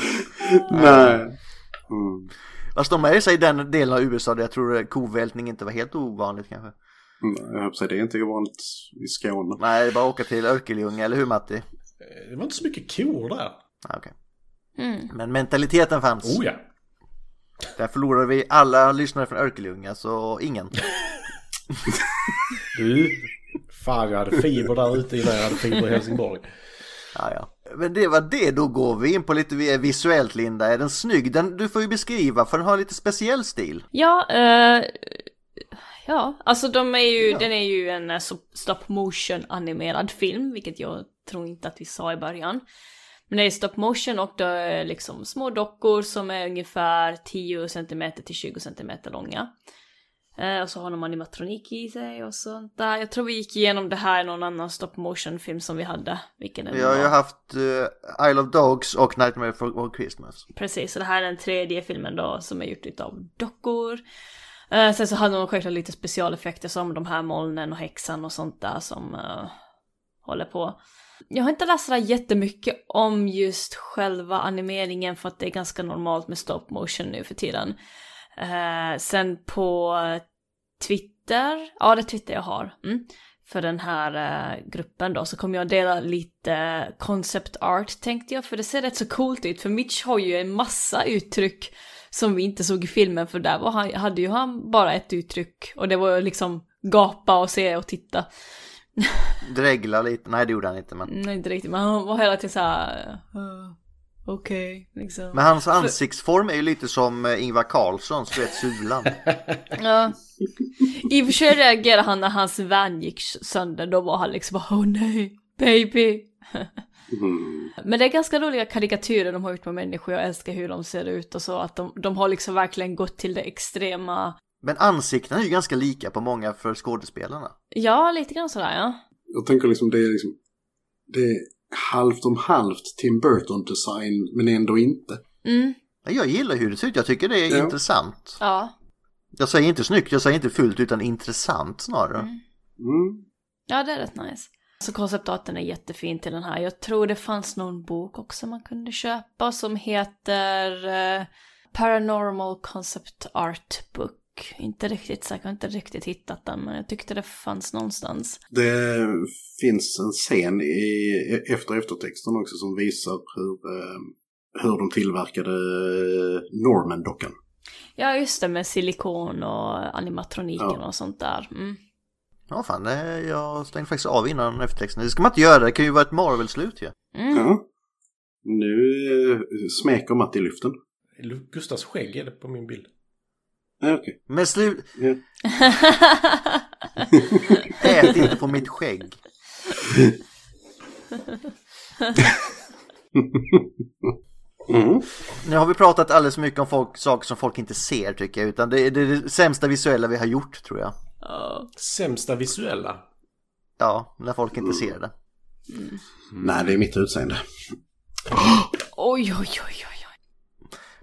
D: Nej.
B: Fast de är i sig den delen av USA där jag tror kovältning inte var helt ovanligt kanske.
D: Mm, Jag höll på att säga, det är inte ovanligt i Skåne.
B: Nej, det är bara att åka till Örkelljunga, eller hur Matti?
C: Eh, Det var inte så mycket kor där.
B: Ah, okej. Men mentaliteten fanns.
C: Oh ja.
B: Där förlorade vi alla lyssnare från Örkelljunga, så ingen.
C: Du. Fan, jag hade fiber där ute innan jag hade fiber i Helsingborg.
B: Ja, ja. Men det var det, då går vi in på lite visuellt Linda. Är den snygg? Den, du får ju beskriva, för den har lite speciell stil.
A: Ja, eh, ja, alltså de är ju, den är ju en eh, so- stop motion animerad film, vilket jag tror inte att vi sa i början. Men det är stop motion och det är liksom små dockor som är ungefär 10 cm till 20 cm långa. Eh, och så har de animatronik i sig och sånt där. Jag tror vi gick igenom det här i någon annan stop motion film som vi hade. Vilken det nu
B: Vi har
A: var.
B: ju haft eh, Isle of Dogs och Nightmare for Christmas.
A: Precis, så det här är den tredje filmen då som är gjort av dockor. Eh, sen så hade de självklart lite specialeffekter som de här molnen och häxan och sånt där som eh, håller på. Jag har inte läst sådär jättemycket om just själva animeringen för att det är ganska normalt med stop motion nu för tiden. Eh, sen på Twitter, ja det är Twitter jag har, mm, för den här eh, gruppen då så kommer jag dela lite eh, concept art tänkte jag, för det ser rätt så coolt ut, för Mitch har ju en massa uttryck som vi inte såg i filmen, för där var han, hade ju han bara ett uttryck och det var liksom gapa och se och titta.
B: Dregla lite, nej det gjorde han inte men.
A: Nej, Mm, inte riktigt, men han var hela tiden så här. "Ah, okej, liksom.
B: Men hans ansiktsform är ju lite som eh, Ingvar Carlssons, du vet sulan.
A: Ja. I och för sig reagerade han när hans vän gick sönder, då var han liksom bara åh nej, baby. Men det är ganska roliga karikatyrer de har gjort med människor, jag älskar hur de ser ut och så, att de, de har liksom verkligen gått till det extrema.
B: Men ansiktena är ju ganska lika på många för skådespelarna.
A: Ja, lite grann sådär ja.
D: Jag tänker liksom det är liksom... Det är halvt om halvt Tim Burton-design, men ändå inte.
A: Mm,
B: Men Jag gillar hur det ser ut, jag tycker det är
D: Ja.
B: intressant.
A: ja.
B: Jag säger inte snyggt, jag säger inte fult utan intressant snarare.
D: Mm.
A: Ja, det är rätt nice. Så konceptarten är jättefin till den här. Jag tror det fanns någon bok också man kunde köpa som heter eh, Paranormal Concept Art Book. Inte riktigt säker, jag har inte riktigt hittat den, men jag tyckte det fanns någonstans.
D: Det finns en scen i efter eftertexten också som visar hur, eh, hur de tillverkade eh, Norman-dockan.
A: Ja, just det, med silikon och animatroniken
D: Ja.
A: och sånt där. Mm.
B: Ja fan, det, jag stängde faktiskt av innan eftertexten. Det ska man inte göra, det kan ju vara ett Marvel-slut ju.
A: Mm.
D: Ja. Nu eh, smeker Matti lyften.
C: Lu- Gustavs skägg är det på min bild.
D: Ja, Okej.
B: Men slut,
D: Ja.
B: *laughs* ät inte på mitt skägg.
D: Mm.
B: Nu har vi pratat alldeles mycket om folk, saker som folk inte ser tycker jag, utan det, det är det sämsta visuella vi har gjort tror jag.
A: Ja.
C: Sämsta visuella.
B: Ja, när folk
D: Mm.
B: inte ser det.
D: Nej, det är mitt utseende.
A: Oj, oj, oj, oj, oj.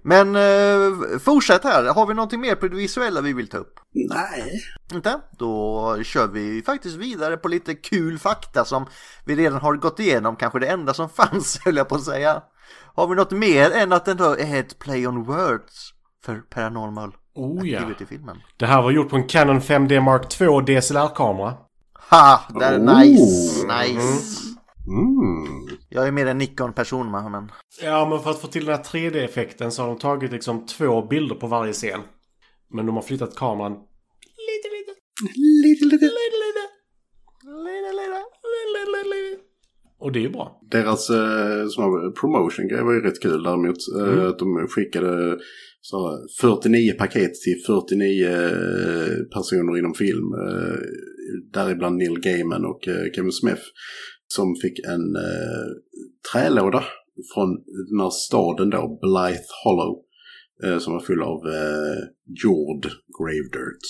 B: Men eh, fortsätt här, har vi någonting mer på det visuella vi vill ta upp?
D: Nej.
B: Inte? Då kör vi faktiskt vidare på lite kul fakta som vi redan har gått igenom, kanske det enda som *laughs* fanns höll jag på att säga. Har vi något mer än att den då är ett play on words för paranormal
C: Oh ja.
B: activity-filmen?
C: Det här var gjort på en Canon 5D Mark II DSLR-kamera.
B: Ha! Det är
D: Oh.
B: nice, nice.
D: Mm.
B: Jag är mer en Nikon-person med, men
C: Ja, men för att få till den här 3D-effekten så har de tagit liksom två bilder på varje scen. Men de har flyttat kameran lite, lite,
D: Lite, lite.
C: lite, lite. Lite, lite, lite, lite, lite. Och det är ju bra.
D: Deras eh, sån här promotion-grej var ju rätt kul däremot. Eh,
C: Mm.
D: Att de skickade så, här 49 paket till 49 eh, personer inom film. Eh, däribland Neil Gaiman och eh, Kevin Smith. Som fick en eh, trälåda från den här staden då, Blythe Hollow. Eh, som var full av eh, jord, grave dirt.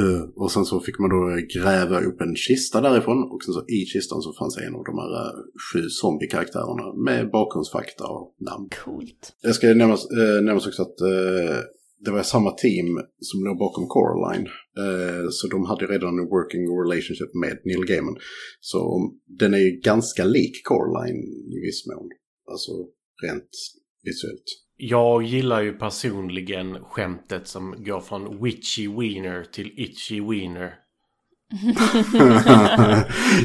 D: Eh, och sen så fick man då gräva upp en kista därifrån och sen så i kistan så fanns en av de här eh, sju zombiekaraktärerna med bakgrundsfakta och namn.
A: Coolt. *laughs*
D: Det ska nämnas, eh, nämnas också att eh, det var samma team som låg bakom Coraline. Eh, så de hade ju redan en working relationship med Neil Gaiman. Så om- den är ju ganska lik Coraline i viss mån. Alltså rent visuellt. *laughs*
C: Jag gillar ju personligen skämtet som går från witchy wiener till itchy wiener.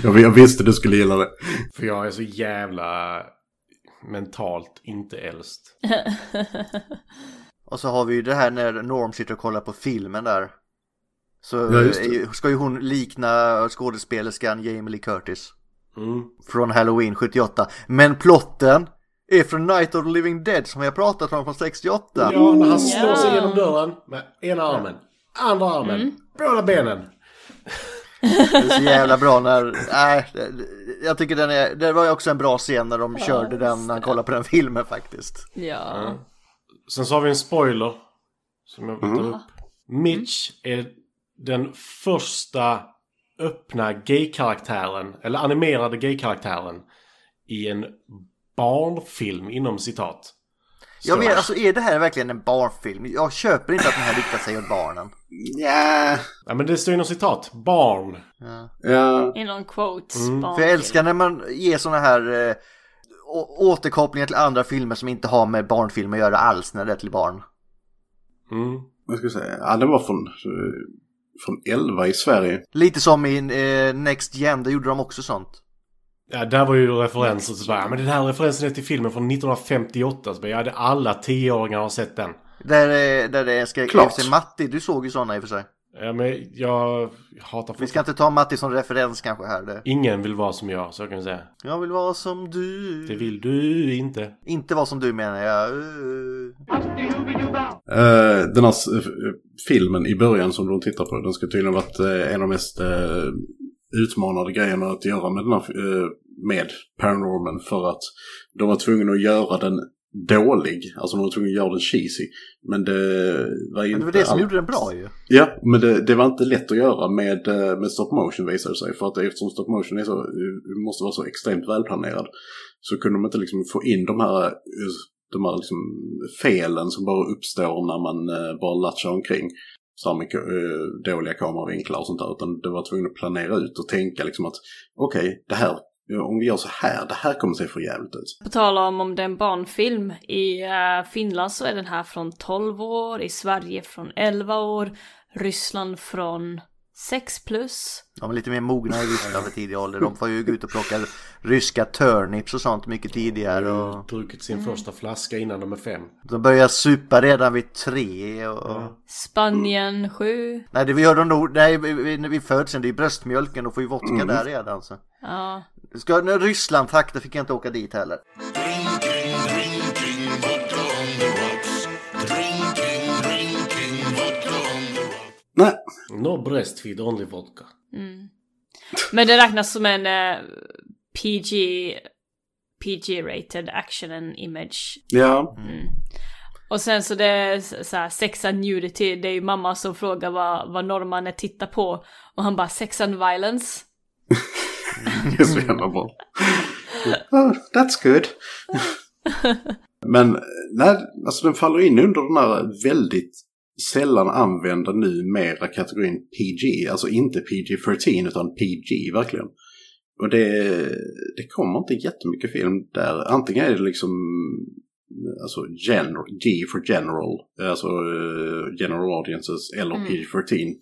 D: jag, jag visste du skulle gilla det.
C: För jag är så jävla mentalt inte äldst.
B: Och så har vi ju det här när Norm sitter och kollar på filmen där. Så
D: Ja, just det.
B: är ju- ska ju hon likna skådespelerskan Jamie Lee Curtis
C: Mm.
B: från Halloween 78. Men plotten är från Night of the Living Dead som vi har pratat om från
D: *laughs*
B: 68.
C: Ja, när han slår sig
A: Ja.
C: genom dörren med ena armen, andra armen, båda benen.
B: Det är så jävla bra när... Nej, det- det- jag tycker den är... Det var ju också en bra scen när de körde den, när han kollade på den filmen faktiskt.
A: Ja.
C: Sen så har vi en spoiler. Som jag vill ta
B: Mm.
C: upp. Mitch är den första öppna gay-karaktären, eller animerade gay-karaktären i en barnfilm inom citat.
B: Jag
C: Ska-
B: vet, alltså är det här verkligen en barnfilm? Jag köper inte att den här riktar sig åt barnen.
D: Ja.
C: Ja, men det står inom citat. Barn.
D: Ja.
A: I någon quotes.
B: Mm, För jag älskar när man ger såna här eh, å- återkopplingar till andra filmer som inte har med barnfilmer att göra alls när det är till barn.
C: Mm.
D: vad ska jag säga, ja den var från eh, från 11 i Sverige.
B: Lite som i eh, Next Gen, där gjorde de också sånt.
C: Ja, där var ju referenser. Så bara, ja, men den här referensen är till filmen från 1958. Så bara, ja, det- alla tioåringar har sett den.
B: Där, eh, där det ska...
C: Klart.
B: FC Matti, du såg ju såna i och för sig.
C: Ja, men jag hatar
B: Vi ska inte ta Matti som referens kanske här. Det.
C: Ingen vill vara som jag, så kan vi säga.
B: Jag vill vara som du.
C: Det vill du inte.
B: Inte vara som du menar jag.
D: Eh, den här s- f- filmen i början som de tittar på, den ska tydligen varit eh, en av de mest eh, utmanande grejerna att göra med den här, f- eh, med Paranorman för att de var tvungna att göra den dålig. Alltså de var tvungna att göra den cheesy. Men det var ju
B: Men det var
D: inte
B: det som
D: all-
B: gjorde den bra ju.
D: Ja, men det, det var inte lätt att göra med, eh, med stop motion visar det sig. För att eftersom stop motion är så, eh, måste vara så extremt välplanerad så kunde de inte liksom få in de här, eh, de här liksom felen som bara uppstår när man eh, bara latchar omkring. Så här mycket eh, dåliga kameravinklar och sånt där. Utan det var tvungen att planera ut och tänka liksom att okej, det här, eh, om vi gör så här, det här kommer se för jävligt ut.
A: På tal om om det är en barnfilm, i eh, Finland så är den här från 12 år, i Sverige från 11 år, Ryssland från 6 plus.
B: De är lite mer mogna i Ryssland för tidig ålder. De får ju gå ut och plocka ryska turnips och sånt mycket tidigare. Och
C: Druckit sin första flaska innan de är fem.
B: de börjar supa redan vid tre. Och...
A: Spanien 7.
B: Nej, det gör de nog. Nej, vi- vi- när vi föds sen, det är bröstmjölken. och får ju vodka
A: Mm.
B: där redan. Så.
A: Ja.
B: Ska, när Ryssland, tack, det fick jag inte åka dit heller.
D: Nej.
C: No breastfeed, only vodka.
A: Mm. Men det räknas som en eh, PG, PG-rated action and image.
D: Ja.
A: Mm. Och sen så det är s- så här, sexa nudity, det är ju mamma som frågar vad, vad norrmannen tittar på. Och han bara sexan violence.
D: Det är så jävla bra. Oh, that's good. Men nej, alltså den faller in under den här väldigt sällan använda numera kategorin PG. Alltså inte PG-13 utan PG verkligen. Och det, det kommer inte jättemycket film där. Antingen är det liksom alltså general, G for general, alltså eh, general audiences eller
B: Mm.
D: PG-13.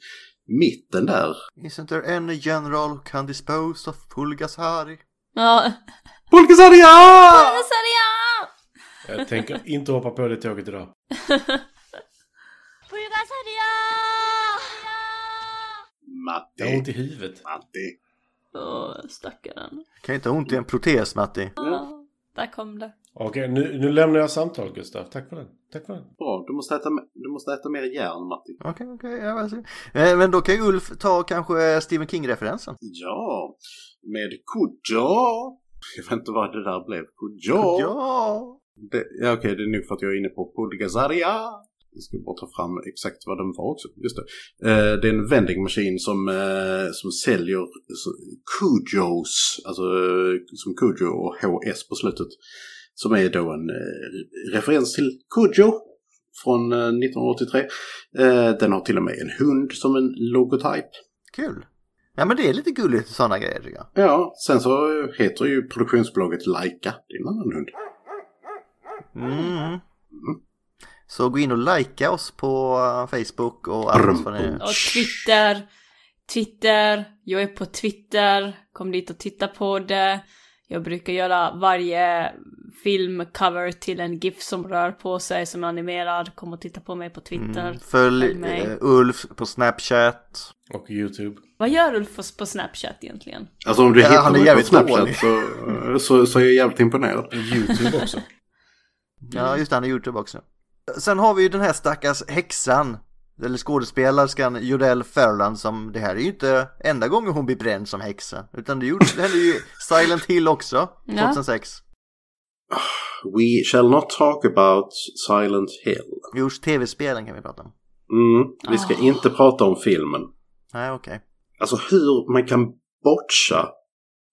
D: Mitten där
B: Isn't there any general who can dispose of Pulgasari?
A: Ja.
B: Pulgasaria!
A: Pulgasaria!
C: Jag tänker inte hoppa på det tåget idag.
D: Matti.
C: Jag har ont i huvudet.
D: Matti.
A: Åh, stackaren.
B: Kan inte ha ont i en protes, Matti.
A: Ja, där kom det.
C: Okej, nu, nu lämnar jag samtalet Gustav. Tack för den. Tack för den.
D: Bra, du måste äta, du måste äta mer järn Matti.
B: Okej, okej. ja, vad ser- Eh, Men då kan ju Ulf ta kanske eh, Stephen King-referensen.
D: Ja, med koja. Jag vet inte vad det där blev. Koja.
B: Ja!
D: Det, ja, okej, det är nog för att jag är inne på Podgazaria. Jag ska bara ta fram exakt vad den var också. Just det. Eh, det är en vending machine som, eh, som säljer så- Cujos, alltså eh, som Cujo och HS på slutet. Som är då en eh, referens till Cujo från eh, 1983. Eh, den har till och med en hund som en logotyp.
B: Kul! Ja, men det är lite gulligt sådana grejer tycker jag.
D: Ja, sen så heter ju produktionsbolaget Laika. Det är en annan hund.
B: Mm. Så gå in och likea oss på eh, Facebook och allt vad det är.
A: Och Twitter. Twitter. Jag är på Twitter. Kom dit och titta på det. Jag brukar göra varje filmcover till en GIF som rör på sig som är animerad. Kom och titta på mig på Twitter.
B: Mm. Följ
A: mig.
B: eh, Ulf på Snapchat.
C: Och YouTube.
A: Vad gör Ulf på Snapchat egentligen?
D: Alltså om du
B: Ja,
D: hittar
B: han är
D: mig på
B: jävligt
D: Snapchat
B: dålig.
D: så, så, så är jag jävligt imponerad.
C: YouTube också.
A: Mm.
B: Ja, just det, han är Youtube också. Sen har vi ju den här stackars häxan. Eller skådespelerskan Jodelle Ferland som det här är ju inte enda gången hon blir bränd som häxa. Utan det, gjorde, det hände ju i Silent Hill också,
A: Ja.
B: 2006.
D: We shall not talk about Silent Hill.
B: Just tv-spelen kan vi prata om.
D: Mm, vi ska
A: Ah.
D: inte prata om filmen.
B: Nej, okej.
D: Alltså hur man kan botcha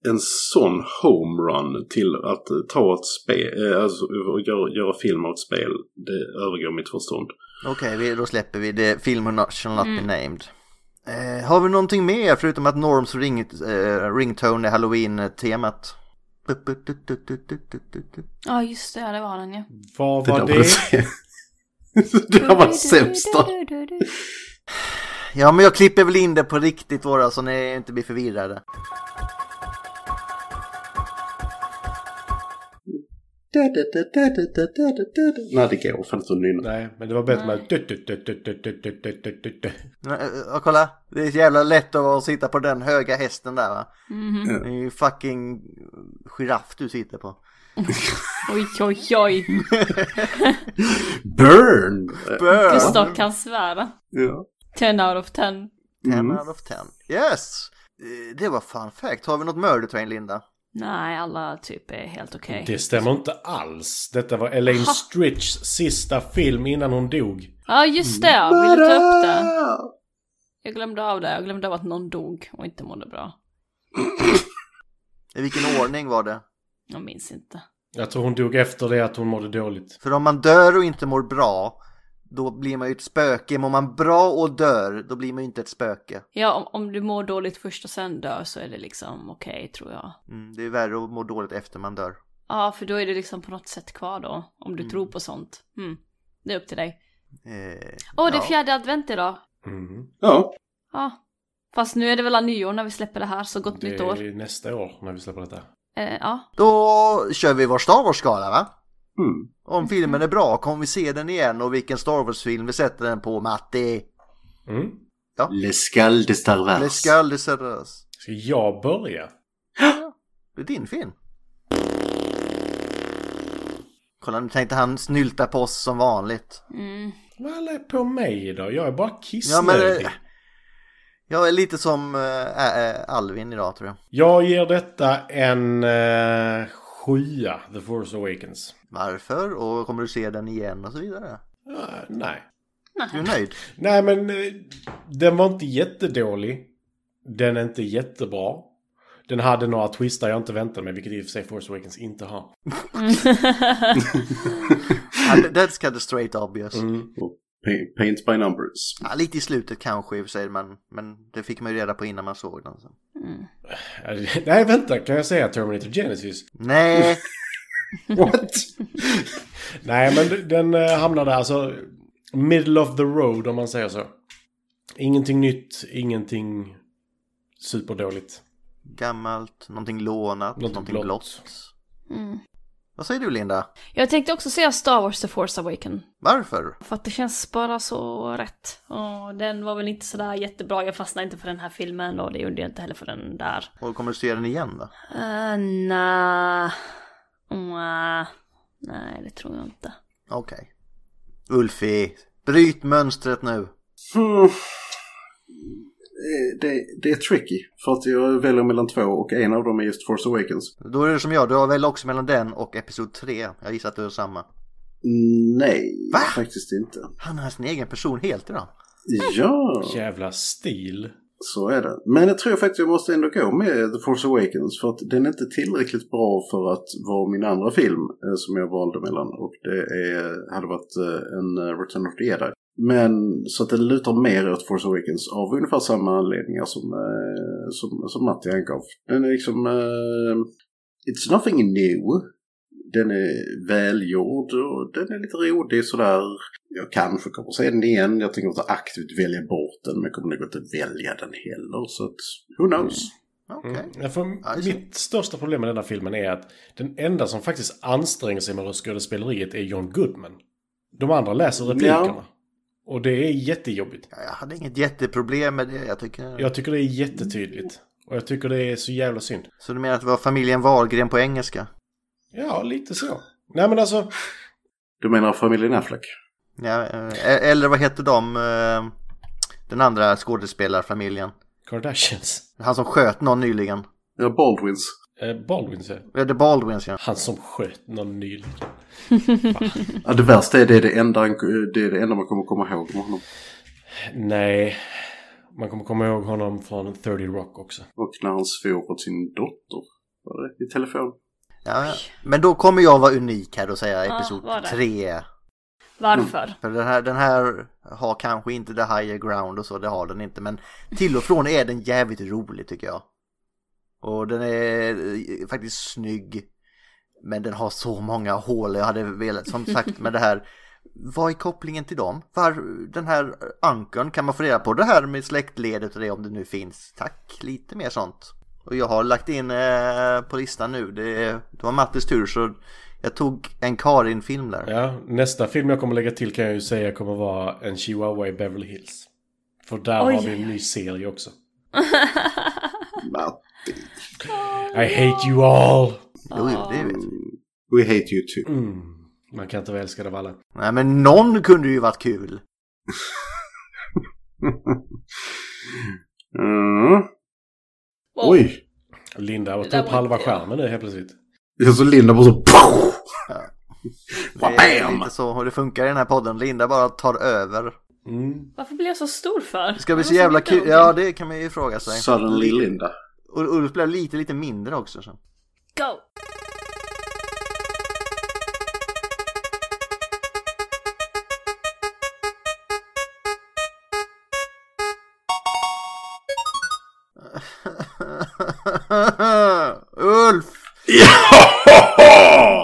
D: en sån homerun till att ta ett spel, alltså och göra, göra film av ett spel, det övergår mitt förstånd.
B: Okej, vi- då släpper vi det. Filmen not- shall not
A: Mm.
B: be named. Eh, har vi någonting mer förutom att Norms ring, eh, ringtone är halloween-temat?
A: Ja, just det. Ja, det var den ju.
C: Vad
D: Det
C: var
D: där var *laughs*
C: det?
D: det, det där var det sämsta.
B: Ja, men jag klipper väl in det på riktigt våra så ni inte blir förvirrade.
D: Nej, det går fan inte att nynna.
C: Nej, men det var bättre med... dut, dut, dut, dut, dut, dut, dut, dut, dut, dut.
B: Men, eh, Ja, kolla. Det är så jävla lätt att vara- sitta på den höga hästen där va.
A: Mhm.
B: Det är ju fucking giraff du sitter på.
A: Oj, oj, oj.
D: Burn!
B: Burn!
A: Gustav kan svära.
D: Ja.
A: 10 out of 10.
B: 10 out of 10. Yes! Eh, Det var fan fact. Har vi något murder train, Linda?
A: Nej, alla typ är helt okej.
C: Det stämmer inte alls. Detta var Elaine
A: Ha.
C: Stritchs sista film innan hon dog.
A: Ja, just det. ja. Vill du ta upp det? Jag glömde av det. Jag glömde av att någon dog och inte mådde bra.
B: I vilken ordning var det?
A: Jag minns inte.
C: Jag tror hon dog efter det att hon mådde dåligt.
B: För om man dör och inte mår bra, då blir man ju ett spöke. Mår man bra och dör, då blir man ju inte ett spöke.
A: Ja, om, om du mår dåligt först och sen dör så är det liksom okej, tror jag.
B: Mm, det är värre att må dåligt efter man dör.
A: Ja, för då är det liksom på något sätt kvar då. Om du tror på sånt. Mm. Det är upp till dig.
B: Eh,
A: Åh, det är
B: ja.
A: fjärde advent idag.
C: Mm.
D: Ja.
A: Ja. Fast nu är det väl av nyår när vi släpper det här, så gott
C: Det
A: nytt år.
C: är nästa år när vi släpper detta.
A: Eh, ja.
B: Då kör vi vår Star Wars-skala va?
D: Mm.
B: Om filmen är bra, kommer vi se den igen och vilken Star Wars-film vi sätter den på, Matti?
C: Mm.
D: Les Gal de Star Wars.
B: Les Galles de Serres.
C: Ska jag börja?
B: Det är din film. Kolla, nu tänkte han snylta på oss som vanligt.
A: Mm.
C: Vad alla är på mig idag? Jag är bara
B: Ja, men...
C: kissnödig.
B: eh, Jag är lite som eh, eh, Alvin idag, tror jag.
C: Jag ger detta en eh, sjua, The Force Awakens.
B: Varför? Och kommer du se den igen och så vidare?
C: Eh, nej.
B: Du är nöjd?
C: Nej, men eh, den var inte jättedålig. Den är inte jättebra. Den hade några twistar jag inte väntade mig, vilket i och för sig Force Awakens inte har.
B: Ja, That's kind of straight obvious.
D: Pa- Paint by numbers.
B: Ja, lite i slutet kanske i och för sig, men, men det fick man ju reda på innan man såg den. Så.
C: Eh, *laughs* Nej, vänta, kan jag säga Terminator Genesis?
B: *laughs* Nej,
D: What?
C: *laughs* Nej, men den eh, hamnade alltså middle of the road om man säger så. Ingenting nytt, ingenting superdåligt.
B: gammalt, någonting lånat,
C: Någonting
B: någonting,
C: blått.
B: blått. Vad säger du Linda?
A: Jag tänkte också säga Star Wars The Force Awaken.
B: Varför?
A: För att det känns bara så rätt. Och den var väl inte sådär jättebra. Jag fastnade inte för den här filmen och det gjorde jag inte heller för den där.
B: Och kommer du se den igen då?
A: Uh, nah. Mwah. Nej, det tror jag inte.
B: Okej. Ulfi, bryt mönstret nu.
D: Hmm. Det, det är tricky. För att jag väljer mellan två och en av dem är just Force Awakens.
B: Då är det som jag, du har väl också mellan den och Episod 3. Jag gissar att du är samma.
D: Nej,
B: Va?
D: faktiskt inte.
B: Han är sin egen person helt idag.
D: Ja,
C: Jävla stil.
D: så är det. Men jag tror faktiskt jag måste ändå gå med The Force Awakens. För att den är inte tillräckligt bra för att vara min andra film eh, som jag valde mellan. Och det är, hade varit eh, en eh, Return of the Jedi. Men så att det lutar mer åt Force Awakens av ungefär samma anledningar som, eh, som, som Matti angav. Den är liksom... Eh, it's nothing new. Den är välgjord och den är lite rolig sådär. Jag kanske kommer se den igen. Jag tänker inte aktivt välja bort den men jag kommer nog inte välja den heller. Så att, who knows?
B: Okej.
C: Mm. Ja, För
B: Ja, just det.
C: mitt största problem med denna filmen är att den enda som faktiskt anstränger sig med röstskådespeleriet är John Goodman. De andra läser replikerna. Och det är jättejobbigt.
B: Ja, Jag hade inget jätteproblem med det. Jag tycker...
C: Jag tycker det är jättetydligt. Och jag tycker det är så jävla synd.
B: Så du menar att det var familjen Wahlgren på engelska?
C: Ja, lite så. Nej men alltså,
D: Du menar familjen Affleck?
B: Ja, eh, eller vad hette de? eh, Den andra skådespelarfamiljen.
C: Kardashians.
B: Han som sköt någon nyligen.
D: Ja, Baldwins.
C: Eh, Baldwin säger
B: Eh, The Baldwins ja.
C: Han som sköt någon nyligen.
D: Ja, det värsta är det är det enda, han- det är det enda man kommer komma ihåg med honom.
C: Nej. Man kommer komma ihåg honom från 30 Rock också.
D: Och när han svor åt sin dotter. Var det? I telefon.
B: Ja, ja. Men då kommer jag vara unik här och säga
A: Ja,
B: episod
A: var det.
B: 3.
A: Varför?
B: För den här, den här har kanske inte the higher ground och så, det har den inte. Men till och från är den jävligt rolig tycker jag. Och den är eh, faktiskt snygg. Men den har så många hål jag hade velat, som sagt med det här Vad är kopplingen till dem? Var, den här ankern, kan man få reda på det här med släktledet och det om det nu finns? Tack, lite mer sånt. Och jag har lagt in eh, på listan nu, det, det var Mattis tur så jag tog en Karin-film där.
C: Ja, nästa film jag kommer lägga till kan jag ju säga kommer vara en chihuahua i Beverly Hills. För där
A: Oj,
C: har vi
A: oj,
C: en ny serie också.
D: Matti.
C: I hate you all! Mm.
B: Jo, jo, det vet vi.
D: We hate you too. *laughs*
C: Man kan inte vara älskad av alla.
B: Nej, men någon kunde ju varit kul.
D: Mm.
A: Wow.
D: Oj!
C: Linda har
A: Det där
C: tagit upp
A: var
C: halva
A: inte jag.
C: skärmen nu helt plötsligt.
D: Jag så Linda bara så...
B: Det är lite så och det funkar i den här podden. Linda bara tar över.
C: Mm.
A: Varför blir jag så stor för?
B: Det ska bli
A: Jag
B: så
A: måste
B: jävla
A: veta
B: kul.
A: någonting.
B: Ja, det kan man ju fråga sig.
D: Suddenly
C: *laughs*
D: Linda.
B: Och Ulf blev lite, lite mindre också. Så. *laughs*
A: Go!
B: Ulf!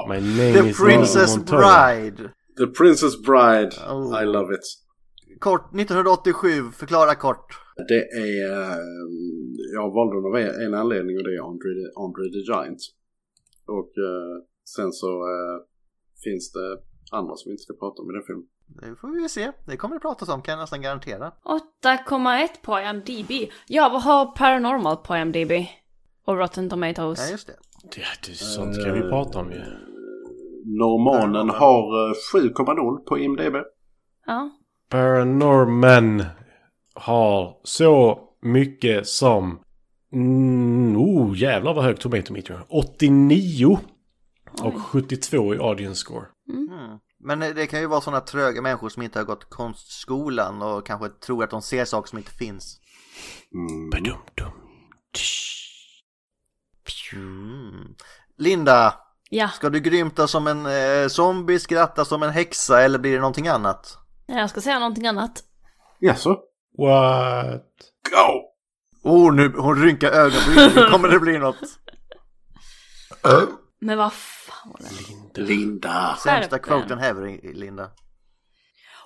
C: My name
B: The
C: is Nora
B: Princess
C: Montoya.
B: Bride!
D: The Princess Bride.
B: Oh.
D: I love it.
B: Kort, 1987, förklara kort.
D: Det är... ehm, Jag valde den av en- en anledning och det är Andre, the- Andre the Giant. Och eh, sen så eh, finns det andra som vi inte ska prata om i den filmen.
B: Det får vi väl se. Det kommer det pratas om, kan jag nästan garantera.
A: 8,1 på IMDB. Ja, vad har Paranormal på IMDB? Och Rotten Tomatoes.
B: Ja, just det.
C: Ja, det, sånt kan vi prata om ju.
D: Normanen har eh, 7,0 på IMDB.
A: Ja.
C: Paranorman har så mycket som... Mm, oh, jävlar vad hög Tomato Meter. 89 och 72 i audience score.
B: Mm. Men det kan ju vara sådana tröga människor som inte har gått konstskolan och kanske tror att de ser saker som inte finns.
C: Badum-dum.
B: Mm. Linda,
A: Ja,
B: ska du grymta som en eh, zombie, skratta som en häxa eller blir det någonting annat?
A: jag ska säga någonting annat.
D: Jaså?
C: What?
D: Go!
B: Oh, nu, hon rynkar ögonbrynen, nu kommer det
A: *laughs*
B: bli något.
A: Men vad fan var det?
D: Linda!
B: Sämsta
A: Skärp den.
B: quoten ever, Linda.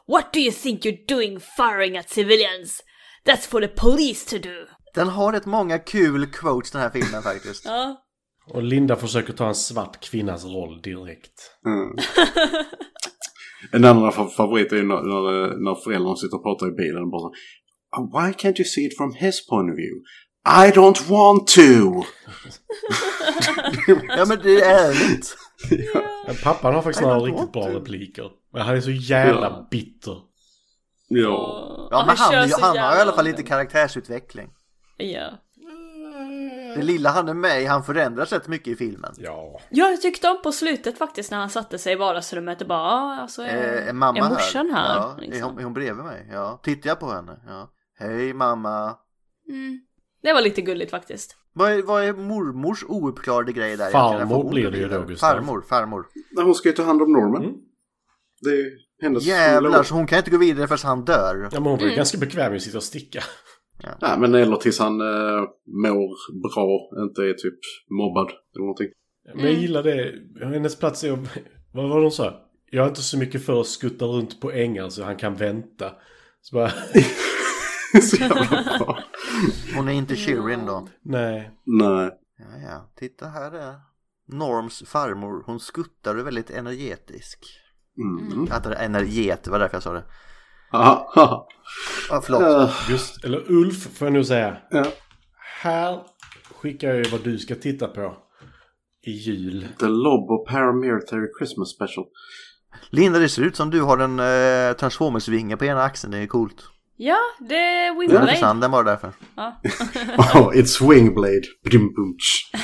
A: What do you think you're doing firing at civilians? That's for the police to do!
B: Den har rätt många kul quotes den här filmen faktiskt.
A: Ja.
C: Och Linda försöker ta en svart kvinnas roll direkt.
D: En annan fa- favorit är ju när, när, eh, när föräldrarna sitter och pratar i bilen och bara så, "Oh, Why can't you see it from his point of view? I don't want to!
B: *laughs* Ja men det är ärligt.
C: Men pappan har faktiskt
B: Nej,
C: några
B: men
C: riktigt
B: då-
C: bra repliker. Men han är så jävla
D: Ja.
C: bitter.
D: Ja.
B: Ja men han,
A: kör
B: är ju-
A: så
B: han har i
A: jävla
B: alla fall lite
A: långt.
B: karaktärsutveckling.
A: Ja.
B: Det lilla han är med i, han förändras rätt mycket i filmen.
C: Ja.
A: Ja, jag tyckte om på slutet faktiskt när han satte sig i vardagsrummet och bara ah, alltså, är,
B: Eh, är mamma
A: är morsan här?
B: Ja, är,
A: liksom.
B: hon, är hon bredvid mig? Ja. Tittar jag på henne? Ja. Hej mamma.
A: mm. Det var lite gulligt faktiskt.
B: Vad är, vad är mormors ouppklarade grej där?
C: Farmor
B: egentligen? Varför hon
C: blir det ju då, Gustav.
B: Farmor, farmor.
D: Nej, Hon ska ju ta hand om Norman.
C: Mm.
D: Det är ju hennes
B: Jävlar,
D: lov.
B: så hon kan inte gå vidare förrän han dör.
C: Ja, men
A: Mm.
C: hon var ju ganska bekväm med att sitta och sticka.
D: Nej, men eller tills han eh, mår bra, inte är typ mobbad eller någonting.
C: Men
A: Mm.
C: jag gillar det. Hennes plats är att- Vad var det hon sa? Jag är inte så mycket för att skutta runt på ängar så han kan vänta. Så bara... *laughs*
D: så jävla bra.
B: Hon är inte Shirin då.
C: Nej.
D: Nej.
B: Ja, ja. Titta här är Norms farmor. Hon skuttar och är väldigt energetisk.
D: Mm.
B: Att det är energet, det var därför jag sa det.
D: *laughs* Aha, aha.
B: Ah, förlåt.
D: Eh,
C: Just, eller Ulf får jag nog säga.
D: ja.
C: Här skickar jag ju vad du ska titta på. I jul.
D: The Lobo Paramilitary Christmas Special. *laughs*
B: Linda, det ser ut som du har en eh, transformersvinge på ena axeln. Det är coolt.
A: Ja, det är
B: Det är
A: Wimblade.
B: för sanden bara därför.
D: Oh, it's Wingblade. Bdim-bum-tsch.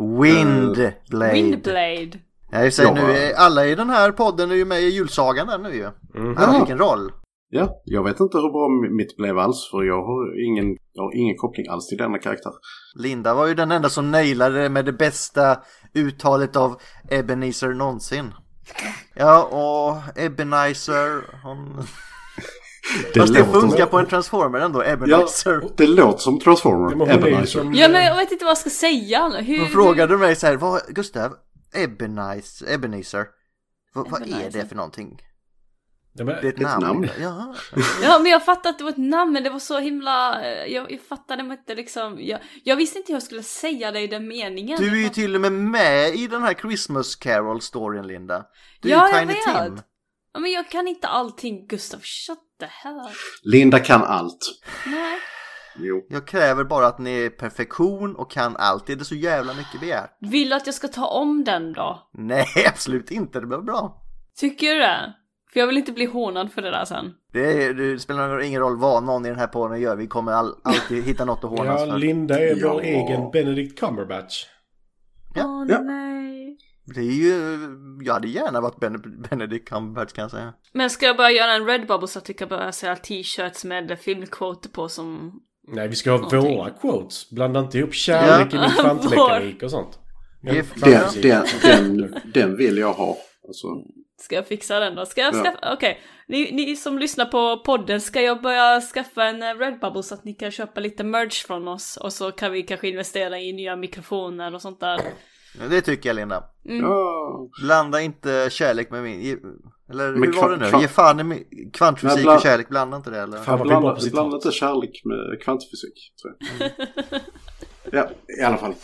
B: Windblade.
A: Windblade.
B: Jag säger
D: Ja.
B: nu, eh, alla i den här podden är ju med i julsagan där nu ju. Alla fick en roll.
D: Ja, jag vet inte hur bra mitt blev alls för jag har ingen, jag har ingen koppling alls till denna karaktär.
B: Linda var ju den enda som nailade det med det bästa uttalet av Ebenezer någonsin. Ja, och Ebenezer, hon...
D: Det
B: Fast det
D: låter-
B: funkar på en transformer ändå,
C: *laughs*
D: Ja,
B: Ebenezer.
D: det låter som Transformer.
C: Ja, men hon är ju
D: Ebenezer.
C: som...
A: Ja, men jag vet inte vad jag ska säga nu. Hur...
B: Hon frågade mig så här, vad, Gustav, Ebenezer, Ebenezer, vad, vad är det
A: Ebenezer.
B: för någonting? Det är ett namn.
D: namn.
B: Ja.
A: Ja men jag fattade att det var ett namn men det var så himla, eh, jag, jag fattade mig inte liksom, jag, jag visste inte hur jag skulle säga det i den meningen.
B: Du är ju till och med med i den här Christmas Carol-storyn, Linda. Du är
A: Ja,
B: ju
A: jag
B: Tiny
A: vet.
B: Tim.
A: Ja, men jag kan inte allting Gustav, shut the hell up.
D: Linda kan allt.
A: Nej.
D: Jo.
B: Jag kräver bara att ni är perfektion och kan allt. Det är så jävla mycket begärt.
A: Vill du att jag ska ta om den då?
B: Nej, *laughs* absolut inte. Det blir bra.
A: Tycker du det? För jag vill inte bli hånad för det där sen.
B: Det, är, det spelar ingen roll vad någon i den här porren gör. Vi kommer all, alltid hitta något att hånas
C: Ja,
B: för.
C: Linda är
D: Ja.
C: vår egen Benedict Cumberbatch.
A: Åh
B: Ja.
A: oh,
D: Ja.
A: nej.
B: Det är ju... Jag hade gärna varit Ben- Benedict Cumberbatch kan jag säga.
A: Men ska jag börja göra en Redbubble så att vi kan börja sälja t-shirts med filmkvoter på som...
C: Nej, vi ska ha
A: Någonting.
C: våra quotes. Blanda inte ihop kärlek i
A: Ja.
C: min
A: *laughs*
C: kvantmekanik och sånt.
B: Det är
C: *laughs*
D: Den,
B: fan-
D: den, den, den vill jag ha. Alltså,
A: Ska jag fixa den då? Ska jag
D: Ja.
A: skaffa... Okej, ni, ni som lyssnar på podden, ska jag börja skaffa en eh, Redbubble så att ni kan köpa lite merch från oss? Och så kan vi kanske investera i nya mikrofoner och sånt där.
B: Det tycker jag, Linda.
D: ja.
B: Blanda inte kärlek med min... ge- Eller
D: Men
B: hur var det
D: kva-
B: nu?
D: kva-
B: Ge fan i min-
D: Nej,
B: kvantfysik
D: bland-
B: och kärlek, blanda inte det eller?
C: Fan vad vi bara
D: Blanda,
C: på sitt
D: blanda inte kärlek med kvantfysik. Tror jag. ja, i alla fall.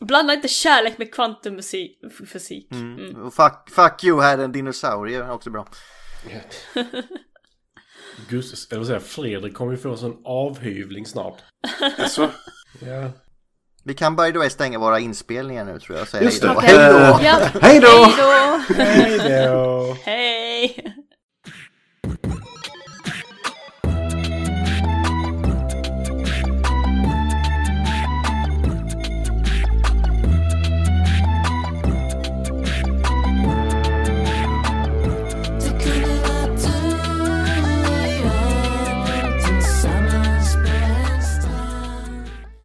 A: Blanda inte kärlek med kvantummusik. f- Fysik. Mm.
B: Och fuck, fuck you, här är en dinosaurie. är Också bra.
C: Gust- eller vad säger jag, Fredrik kommer ju få en sån avhyvling snart.
D: Alltså,
A: *laughs*
C: Ja.
B: Vi kan by the way stänga våra inspelningar nu tror jag. och Säga
D: Just det.
B: hejdå.
A: Okej.
C: *laughs*
B: Hejdå!
A: Ja,
D: hej då!
A: hej då!
C: Hej då!
A: Hej!